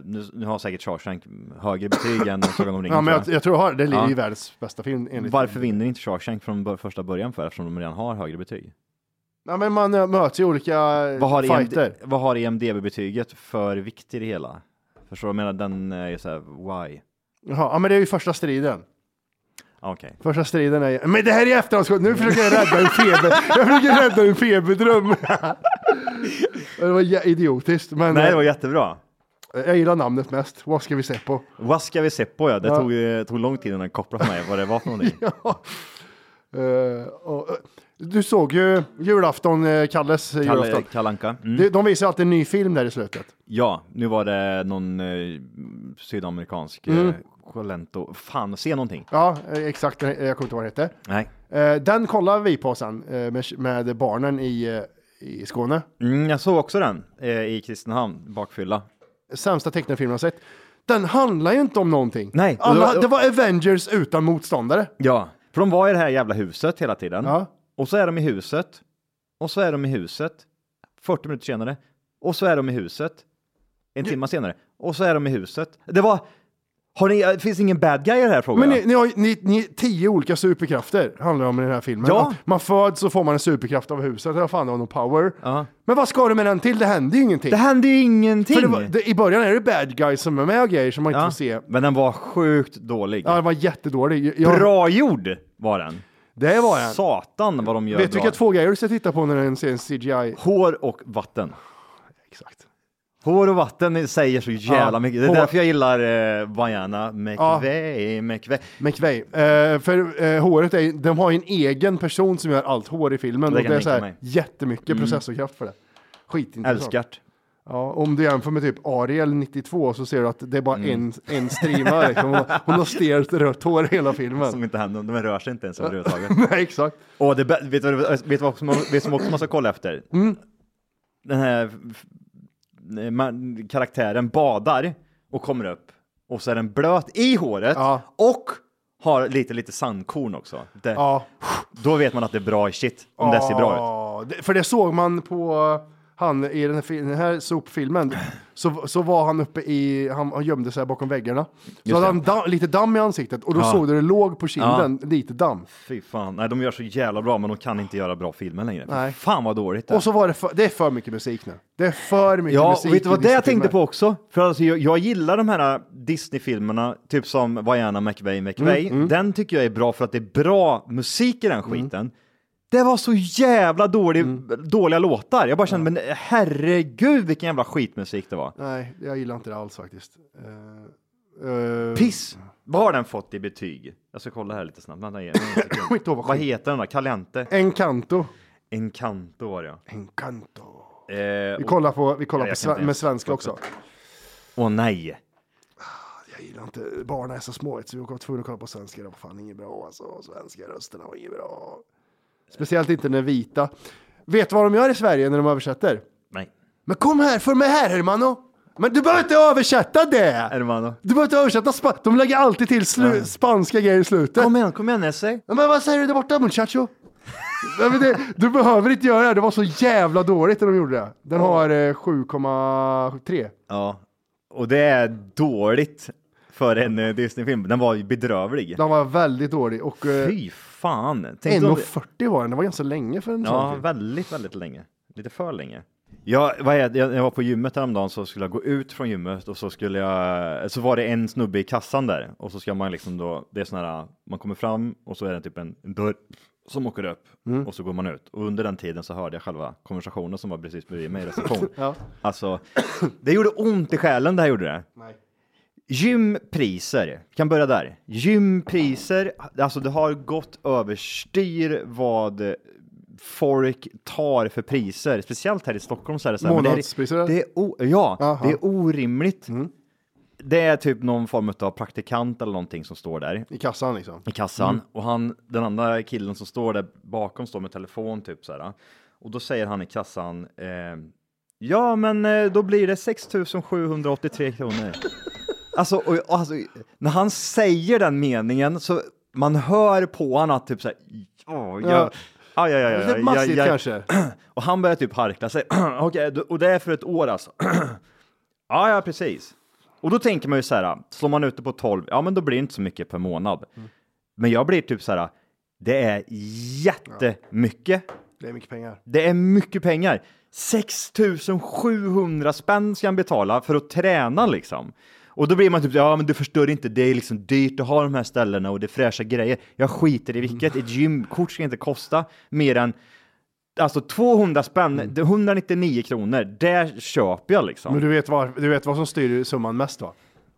nu, nu har säkert Shawshank högre betyg än Sagan om ringen. Ja, men tror jag, jag tror jag har, det är Ja. ju världens bästa film enligt Varför vinner inte Shawshank från bör- första början för, eftersom de redan har högre betyg? Ja, men man eh, möts i olika Vad har, fighter. EMD, vad har E EMDB-betyget för vikt i det hela? Förstår du? Jag menar, den är ju såhär, why? Jaha, ja, men det är ju första striden. Ah, Okej. Första striden är Men det här är efterhandskonstruktion, nu försöker jag rädda en feber, jag försöker rädda en feberdröm. det var jä- idiotiskt, men Nej, det var eh, jättebra. jag gillar namnet mest. Vad ska vi se på? Vad ska vi se på? Ja, det Ja. Tog, eh, tog lång tid innan jag kopplade för mig vad det var för någonting. Eh, och, eh, du såg ju julafton, eh, Kalles eh, Kalle, julafton. Kalanka. Mm. De, de visar ju alltid en ny film där i slutet. Ja, nu var det någon eh, sydamerikansk eh, Mm. Colento. Fan, se någonting. Ja, eh, exakt. eh, Jag kommer inte ihåg vad den hette. Nej. Eh, den kollar vi på sen eh, med, med barnen i, eh, i Skåne. Mm, jag såg också den eh, i Kristinehamn, bakfylla. Sämsta tecknarfilmen jag sett. Den handlar ju inte om någonting. Nej, och Alla, det var- det var Avengers utan motståndare. Ja, för de var i det här jävla huset hela tiden. Ja. Och så är de i huset. Och så är de i huset. 40 minuter senare. Och så är de i huset. En timme senare. Och så är de i huset. Det var... Har ni, det finns ingen bad guy i den här frågan? Men ni, ni har ju- ni, ni, tio olika superkrafter, handlar det om i den här filmen. Ja. Att Man föds och får man en superkraft av huset, eller vad fan, av någon power. Men vad ska du med den till? Det händer ju ingenting. Det hände ju ingenting! För det var, det, I början är det bad guys som är med och grejer som man inte Ja. får se. Men den var sjukt dålig. Ja, det var jättedålig. Jag, Bra gjord var den. Det var den. Satan vad de gör vet du bra. vilka två grejer du ska titta på när du ser en CGI? Hår och vatten. Exakt. Hår och vatten säger så jävla Ja, mycket. Det är hår- därför jag gillar eh, Vaiana McVeigh. McVeigh. McVeigh. Eh, för eh, håret, är, de har ju en egen person som gör allt hår i filmen. Det Det och kan det är jag så tänka här mig. jättemycket Mm. processorkraft för det. Skitintressant. Älskar't. Ja. Ja, om du jämför med typ Ariel 92 så ser du att det är bara Mm. en, en streamare. liksom. hon, har- hon har stelt rött hår hela filmen. Som inte händer, de rör sig inte ens överhuvudtaget. Nej, exakt. Och det, bä- vet du vad- vet du vad som, vet som också man ska kolla efter? Mm. Den här f- eh, man, karaktären badar och kommer upp och så är den blöt i håret och har lite, lite sandkorn också. Det, Ja. Då vet man att det är bra shit, om det ser bra ut. Ja, det- För det såg man på eh, han i den här, fil- den här sopfilmen. Så, så var han uppe i, han, han gömde sig bakom väggarna. Så Just hade det. han da, lite damm i ansiktet och då Ja. såg du det låg på kinden, lite damm. Fy fan, nej de gör så jävla bra men de kan inte göra bra filmer längre. Nej. Fan vad dåligt det är. Och så var det för, det är för mycket musik nu. Det är för mycket Ja, musik. och vet du i vad det vissa jag tänkte filmer. på också? För alltså, jag, jag gillar de här Disney-filmerna, typ som Vaiana McVey McVey. Mm, mm. Den tycker jag är bra för att det är bra musik i den skiten. Det var så jävla dålig, Mm. dåliga låtar. Jag bara kände, men herregud vilken jävla skitmusik det var. Nej, jag gillar inte det alls faktiskt. Eh, eh, Piss! Vad har den fått i betyg? Jag ska kolla här lite snabbt. Vänta, ge mig en sekund. Skit då, vad vad skit. heter den då? Caliente? Encanto. Encanto var det ja. Encanto. Eh, Vi och- kollar på, vi Ja, kollar jag på kan sven- inte med ens- svenska också. Alltså, Åh nej! Jag gillar inte, barnen är så små så vi var tvungna att kolla på svenska. Det var fan inget bra alltså. Svenska rösterna var inget bra. Speciellt inte den vita. Vet du vad de gör i Sverige när de översätter? Nej. Men kom här, för mig här hermano. Men du behöver inte översätta det! Hermano. Du behöver inte översätta spa- De lägger alltid till slu- spanska grejer i slutet. Kom igen, kom igen Esse! Men vad säger du där borta muchacho? Nej, men det, du behöver inte göra det här. det var så jävla dåligt när de gjorde det. Den har eh, 7,3. Ja, och det är dåligt för en eh, Disney-film. Den var ju bedrövlig. Den var väldigt dålig och eh, Fy fan! Tänk om det- 1,40 var den, det var ganska länge för en sån Ja, film. väldigt, väldigt länge. Lite för länge. Jag, vad är, det? jag, jag var på gymmet häromdagen så skulle jag gå ut från gymmet och så skulle jag, så var det en snubbe i kassan där och så ska man liksom då, det är sån här, man kommer fram och så är det typ en en dörr som åker upp Mm. och så går man ut och under den tiden så hörde jag själva konversationen som var precis bredvid mig i reception. Ja. Alltså, det gjorde ont i själen det här gjorde det. Nej. Gympriser, kan börja där. Gympriser, alltså det har gått överstyr vad folk tar för priser, speciellt här i Stockholm så är det så här. men det är- Månadspriser, eller? Det är, o- ja, Aha. Mm. det är orimligt. Det är typ någon form av praktikant eller någonting som står där I kassan liksom. i kassan Mm. och han, den andra killen som står där bakom står med telefon typ så här. Och då säger han i kassan eh, Ja, men eh, då blir det 6783 kronor. alltså, och, och alltså, när han säger den meningen så man hör på han att typ så här. "Ja, jag, Ja. ja. Ja, ja, ja, ja, Lite massigt kanske. Och han börjar typ harkla sig. Okej, då- och det är för ett år alltså. ja, ja, precis. Och då tänker man ju så här, slår man ut det på 12, ja men då blir det inte så mycket per månad. Men jag blir typ så här, det är jättemycket. Det är mycket pengar. Det är mycket pengar. 6700 spänn ska han betala för att träna liksom. Och då blir man typ, ja men du förstår inte, det är liksom dyrt att ha de här ställena och det är fräscha grejer. Jag skiter i vilket, ett gymkort ska inte kosta mer än Alltså 200 spänn, det är 199 kronor, där köper jag liksom. Mm. Men du vet, vad, du vet vad som styr summan mest va?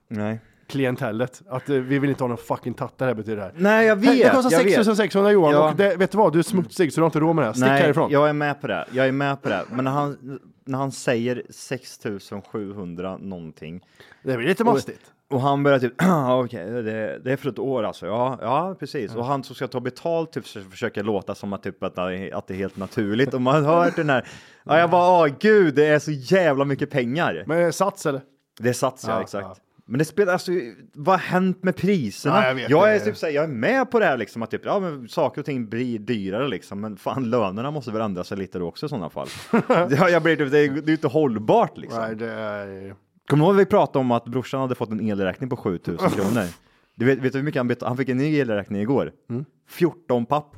Nej. Klientellet. Att eh, vi vill inte ha någon fucking tattare här betyder det här. Nej, jag Det- vet. Det kostar jag vet. 6600 Johan Ja. och det, vet du vad, du är smutsig så du har inte råd med det här. Stick Nej, härifrån. jag är med på det. Jag är med på det. Men när han, när han säger 6700 någonting. Det blir lite mastigt. Och, och han börjar typ, "Ah, okej, det, det är för ett år alltså. Ja, ja precis. Och han som ska ta betalt typ så försöker låta som att, typ, att, det är- att det är helt naturligt. Och man hör den här, ja jag bara, åh gud, det är så jävla mycket pengar. Men är det sats eller? Det är sats, ja, Ja, exakt. ja. Men det spelar, alltså, vad har hänt med priserna? Ja, jag vet, jag, det är är- typ, såhär, jag är med på det här liksom, att typ, ja, men saker och ting blir dyrare liksom, men fan lönerna måste väl ändra sig lite då också i sådana fall. ja, jag blir, typ, det, är, det är ju inte hållbart liksom. Nej, det är... Kommer du ihåg att vi pratade om att brorsan hade fått en elräkning på 7000 kronor? Du vet, vet du hur mycket han betalade? Han fick en ny elräkning igår. Mm. 14 papp.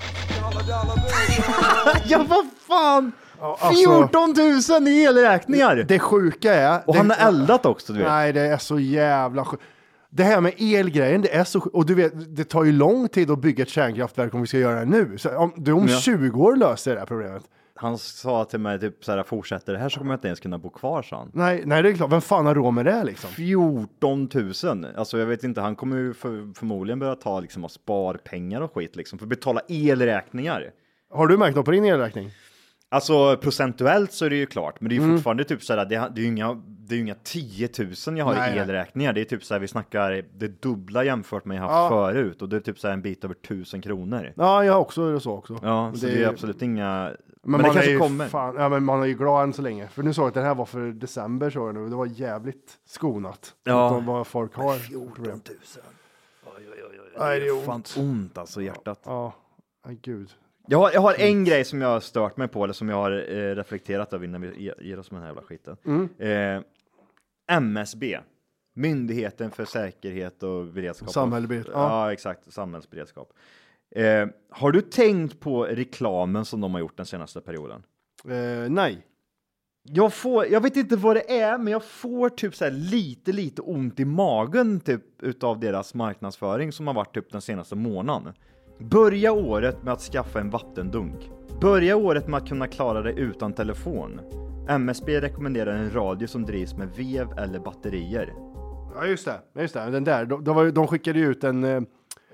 ja, vad fan! alltså- 14 000 i elräkningar! Det sjuka är... Och det, han har eldat också, du vet. Nej, det är så jävla sjukt. Det här med elgrejen, det är så sjukt. Och du vet, det tar ju lång tid att bygga ett kärnkraftverk om vi ska göra det nu. Så om, du om Ja. 20 år löser det här problemet. Han sa till mig typ så här, fortsätter det här så kommer jag inte ens kunna bo kvar, sa han. Nej, nej, det är klart. Vem fan har råd med det liksom? 14 000, alltså jag vet inte, han kommer ju för, förmodligen börja ta liksom av sparpengar och skit liksom för att betala elräkningar. Har du märkt något på din elräkning? Alltså procentuellt så är det ju klart, men det är ju Mm. fortfarande typ så här, det, det är ju inga, det är ju inga 10 000 jag har Nej, i nej. elräkningar. Det är typ så här, vi snackar det dubbla jämfört med jag haft Ja. förut och det är typ så här en bit över 1000 kronor. Ja, jag har också så också. Ja, Men så det är ju absolut inga, men, Men, man det är kanske ju kommer. Fan, ja, men man är ju glad än så länge. För nu såg jag att det här var för december såg jag nu. Det var jävligt skonat. Ja. Utan vad folk har. 14 000. Nej, det är fan ont. ont alltså i hjärtat. Ja, Ay, gud. Jag har, jag har en Mm. grej som jag har stört mig på, eller som jag har eh, reflekterat över innan vi ge- ger oss med den här jävla skiten. Mm. Eh, MSB, Myndigheten för säkerhet och beredskap. Samhällsbered- Ja. ja. exakt. Samhällsberedskap. Eh, har du tänkt på reklamen som de har gjort den senaste perioden? Eh, nej. Jag, får, jag vet inte vad det är, men jag får typ så här lite, lite ont i magen typ utav deras marknadsföring som har varit typ den senaste månaden. Börja året med att skaffa en vattendunk. Börja året med att kunna klara dig utan telefon. MSB rekommenderar en radio som drivs med vev eller batterier. Ja, just det. Ja, Just det. Den där. De, de, var, ju- de skickade ju ut en eh,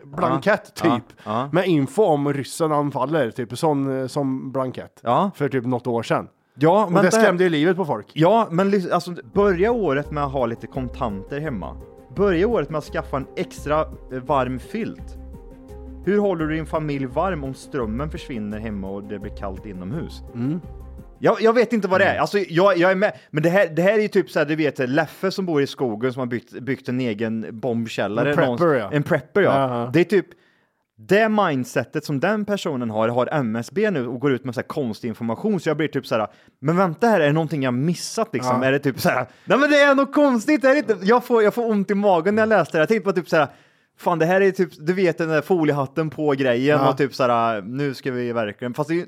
blankett Ja, typ. Med info om ryssen anfaller. Typ sån eh, som blankett. För typ något år sedan. Ja, Och det skrämde ju livet på folk. Ja, men lys- alltså, börja året med att ha lite kontanter hemma. Börja året med att skaffa en extra eh, varm filt. Hur håller du din familj varm om strömmen försvinner hemma och det blir kallt inomhus? Mm. Jag, jag vet inte vad det är. Alltså, jag, jag är med. Men det här, det här är ju typ så här, du vet Leffe som bor i skogen som har byggt, byggt en egen bombkällare. En prepper, någonstans- ja. En prepper, ja. Jaha. Det är typ det mindsetet som den personen har, har MSB nu och går ut med så här konstig information så jag blir typ så här, men vänta här, är det någonting jag missat liksom? Ja. Är det typ så här, nej men det är något konstigt, är det inte? Jag får, jag får ont i magen när jag läste det, jag tänkte på typ så här, fan det här är typ, du vet den där foliehatten på grejen Ja. och typ så här, nu ska vi verkligen, fast det är ju,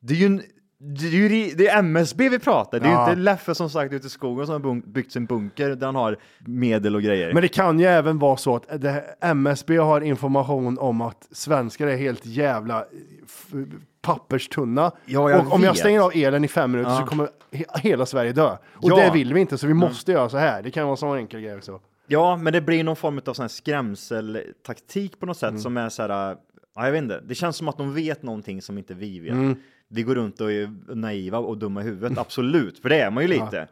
det är ju en det är, ju, re- det är MSB vi pratar, det är Ja. ju inte Leffe som sagt ute i skogen som har bunk- byggt sin bunker där han har medel och grejer. Men det kan ju även vara så att det här, MSB har information om att svenskar är helt jävla eh, f- papperstunna. Ja, jag och om jag vet. stänger av elen i fem minuter Ja. så kommer he hela Sverige dö. Och Ja. Mm. det vill vi inte, så vi måste göra så här. Det kan vara en sån enkel grej också. Ja, men det blir någon form av sån här skrämseltaktik på något sätt Mm. som är så här. äh, Ja, jag vet inte. Det känns som att de vet någonting som inte vi vet. Mm. Vi går runt och är naiva och dumma i huvudet. Absolut, för det är man ju lite.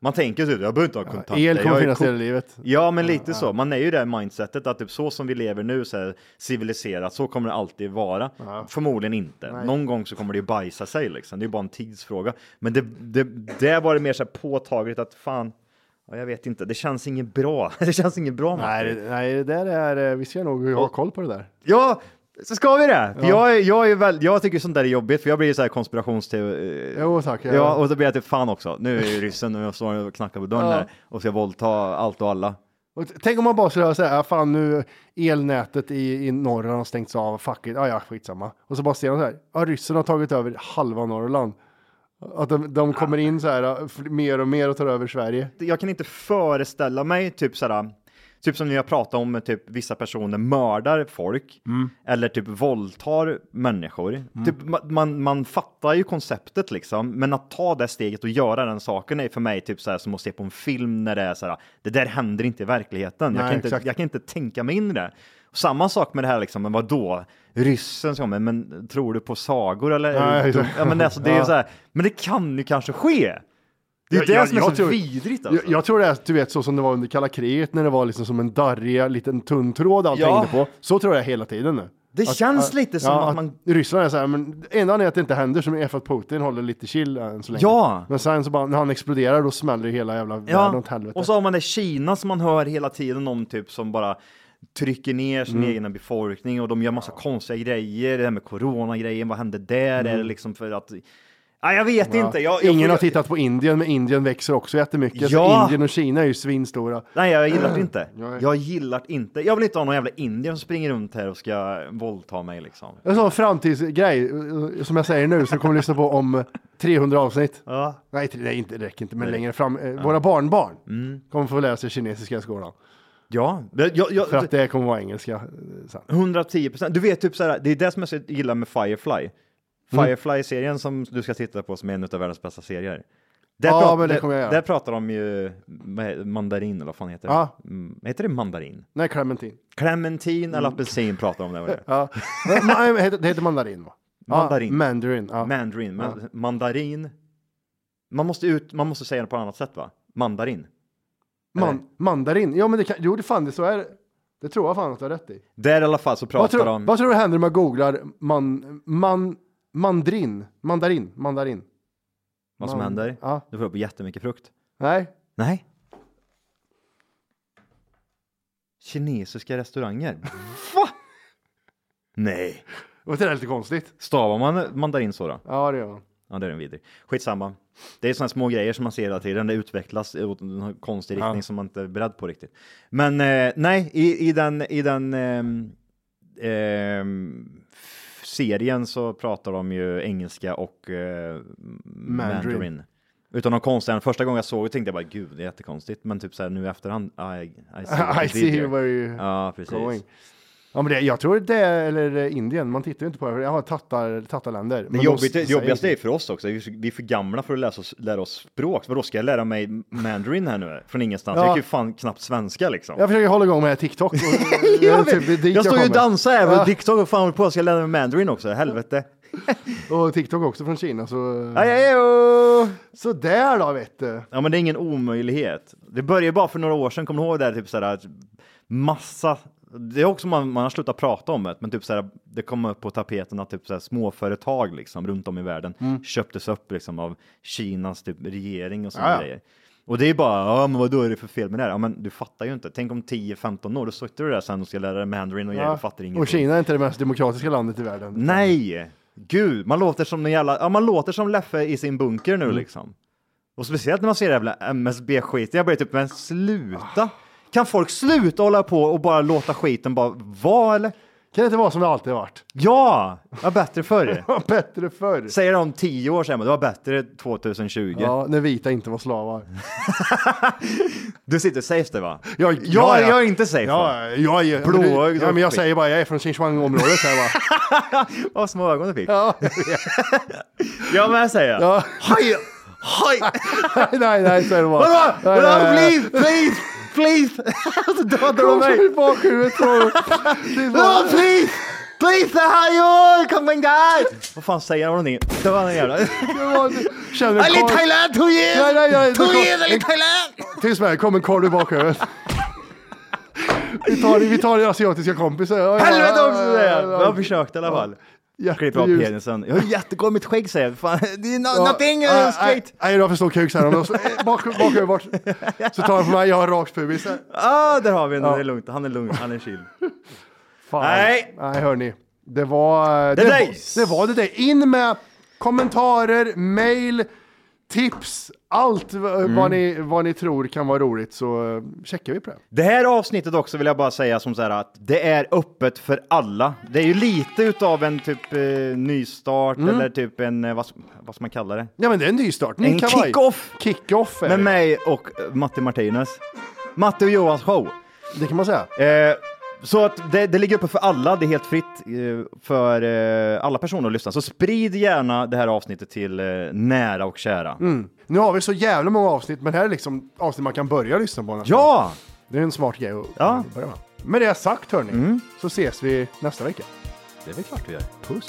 Man tänker typ, jag behöver inte ha kontakter. el kommer jag är finnas cool. hela livet. Ja, men lite Eh, så. Man är ju det här mindsetet att typ så som vi lever nu, så här, civiliserat, så kommer det alltid vara. Förmodligen inte. Nej. Någon gång så kommer det ju bajsa sig liksom. Det är bara en tidsfråga. Men det, det, det var det mer så här påtagligt att fan, ja, jag vet inte, det känns inget bra. Det känns inget bra. Matti. Nej, det- nej, det där är, eh, vi ska nog ha koll på det där. Ja, så ska vi det? För Ja. Jag, är- jag, är väl, jag tycker sånt där är jobbigt, för jag blir ju så här konspirationsteori. Jo tack. Ja. och så blir jag typ fan också. Nu är ju ryssen och jag står och knackar på dörren Ja. här och ska våldta allt och alla. Och t- tänk om man bara skulle säga, ah, fan nu elnätet i, i Norrland har stängts av, fuck it, ah, ja skitsamma. Och så bara ser man så här, ah, ryssen har tagit över halva Norrland. Att de, de kommer in så här, ah, fl- mer och mer och tar över Sverige. jag kan inte föreställa mig typ sådär, typ som när jag pratar om typ vissa personer mördar folk Mm. eller typ våldtar människor. Typ, ma- man, man fattar ju konceptet liksom, men att ta det steget och göra den saken är för mig typ såhär som att se på en film när det är såhär, det där händer inte i verkligheten. Nej, jag, kan inte, exakt. jag kan inte tänka mig in i det. Samma sak med det här liksom, men vadå? Ryssen som, men, men tror du på sagor eller? Nej, är du dum?" exakt. ja, men alltså, det är Ja. så här, men det kan ju kanske ske. Det är ju det som är så vidrigt alltså. Jag, jag tror det är, du vet, så som det var under kalla kriget när det var liksom som en darrig liten tunn tråd allt Ja. hängde på. Så tror jag hela tiden nu. Det känns lite som att man- Ryssland är så här, men det enda anledningen att det inte händer som är för att Putin håller lite chill än så länge. Ja. Men sen så bara, när han exploderar då smäller ju hela jävla världen åt helvete. Och så har man det Kina som man hör hela tiden om typ som bara trycker ner sin Mm. egna befolkning och de gör massa konstiga grejer. Det här med coronagrejen, vad hände där? Är det liksom för att... Ja, jag vet Mm. Ja. inte. Jag, Ingen jag, har tittat på Indien, men Indien växer också jättemycket. Så Ja. Indien och Kina är ju svinstora. Nej, jag gillar det inte. Nej. Jag gillar det inte. Jag vill inte ha någon jävla indier som springer runt här och ska våldta mig liksom. En sån framtidsgrej, eh, som jag säger nu, som kommer lyssna på om eh, 300 avsnitt. Ja. Nej, tre- nej, inte, det räcker inte, men Nej. längre fram. eh, Ja. Våra barnbarn Mm. kommer få lära sig kinesiska i skolan. Ja, jag, jag, För att det kommer vara engelska. eh, sen. 110 procent. Du vet, typ så här, det är det som jag så gillar med Firefly. Mm. Firefly-serien som du ska titta på som är en av världens bästa serier. Ja, prat- men det där- kommer jag göra. Där pratar de ju med mandarin eller vad fan heter det? Ja. Mm, heter det mandarin? Nej, Clementine. Mm. Clementin eller apelsin pratar de om det. var det. Ja. Men, men, eh, det heter- Det heter mandarin va? Mandarin. mandarin, ja. Mandarin. Men, Ja. Mandarin. Man måste, ut, man måste säga det på ett annat sätt va? Mandarin. Man, mandarin, ja men det kan, jo det fan det så är det. Det tror jag fan att du har rätt i. Där i alla fall så Vad pratar tror, de... vad tror du händer om man googlar man, man, mandrin, mandarin, mandarin? vad som Man- händer. Ja. Du får upp jättemycket frukt. Nej, Nej. Kinesiska restauranger. Va? Nej. Och det är lite konstigt. Stavar man mandarin så då? Ja, det gör man. Ja, det är den vidrig. Skitsamma. Det är sådana små grejer som man ser hela tiden. Det utvecklas åt en konstig riktning som man inte är beredd på riktigt. Men eh, nej, i, i den, i den ehm, ehm, f- serien så pratar de ju engelska och eh, mandarin. Mandarin. Utan de konstiga, första gången jag såg det tänkte jag bara gud, det är jättekonstigt. Men typ så här nu i efterhand, I, I see, what I they did see there. where you Ja, precis. going. Ja, men det, jag tror det är, eller eh, Indien, man tittar ju inte på det, för jag har tattar, tattarländer. Men Det, de jobbigt, det säger- jobbigaste är för oss också, vi är vi är för gamla för att läsa oss, lära oss språk. Vadå, ska jag lära mig mandarin här nu från ingenstans? Ja. Jag kan ju fan knappt svenska liksom. Jag försöker hålla igång med TikTok. Och, jag, eh, typ, det är dit jag står ju och kommer. dansar här på Ja. Mm. TikTok och fan håller på att jag ska lära mig mandarin också, helvete. Och TikTok också från Kina så... Aj, aj, aj. Så där då vet du. Ja men det är ingen omöjlighet. Det började ju bara för några år sedan, kommer du ihåg det här, typ så här massa det är också man, man har slutat prata om det, men typ så här, det kom upp på tapeten att typ så här, småföretag liksom runt om i världen Mm. köptes upp liksom av Kinas typ regering och sådana Ja, ja. grejer. Och det är bara, ja men vad är det för fel med det här? Ja men du fattar ju inte. Tänk om 10-15 år, då sitter du där sen och ska lära dig mandarin och grejer, Ja. du fattar ingenting. Och Kina är inte det mest demokratiska landet i världen. Nej! Gud, man låter som en jävla, ja, man låter som Leffe i sin bunker Mm. nu liksom. Och speciellt när man ser det jävla MSB-skiten, jag blir typ, men sluta! Kan folk sluta hålla på och bara låta skiten bara vara eller? Kan det inte vara som det alltid har varit? Ja! Var bättre förr. Var bättre förr. Säger de om tio år sen, men det var bättre 2020. Ja, när vita inte var slavar. Du sitter safe där va? Jag, jag, jag är inte safe va? Ja, jag, jag, Blåögd ja, men jag och- säger bara, jag är från Xinjiang-området. säger jag bara. Vad små ögon du fick. Ja. Jag med säger jag. Ja. Hej! Hej! nej, nej, nej, säger de bara. Eh, Vadå? Nej, Vadå? nej, nej. Please, please, please! Alltså, Så dödar de Kom mig. så i bakhuvudet på Det är Ja, bara- please! Please, hello! Come and guide! Vad fan säger han någonting? Det var en jävla... det var- Känner en Ali karl- Thailand, two years! Nej, nej, nej, two det kom- years, Ali Thailand! Tyst med dig, kom en korv i bakhuvudet. Vi tar, vi tar din asiatiska kompis. Ja, ja, Helvete ja, också ja, säger jag! ja, Jag har försökt i alla fall. ja. Klipper av Jätteljust. penisen. Jag har jättegott mitt skägg säger jag. Fan, det är no, Ja, nothing nej, uh, straight. Nej, nej, du har för stor kuk säger de. Så, eh, Bak, bakhuvudet bort. Så tar han på mig, jag har rakt pubis. Ah, där har vi en. Ja. Det är lugnt. Han är lugn. Han är chill. Fan. Nej. Nej, hörni. Det var eh, det, The days. var, det var det där. In med kommentarer, mail, tips, allt v- eh, Mm. vad, ni, vad ni tror kan vara roligt så eh, checkar vi på det. Det här avsnittet också vill jag bara säga som så här att det är öppet för alla. Det är ju lite utav en typ eh, nystart eller typ en, eh, vad, ska- vad ska man kalla det? Ja, men det är en nystart. Ny En kavaj. kick-off! Kick-off är Med det. mig och eh, Matti Martinez. Matti och Johans show. det kan man säga. Eh, så att det, det ligger uppe för alla, det är helt fritt eh, för eh, alla personer att lyssna. Så sprid gärna det här avsnittet till eh, nära och kära. Mm. Nu har vi så jävla många avsnitt, men här är liksom avsnitt man kan börja lyssna på. nästan. Ja! Det är en smart grej att Ja. Mm. börja med. Med det sagt hörni, så ses vi nästa vecka. Det är väl klart vi gör. Puss!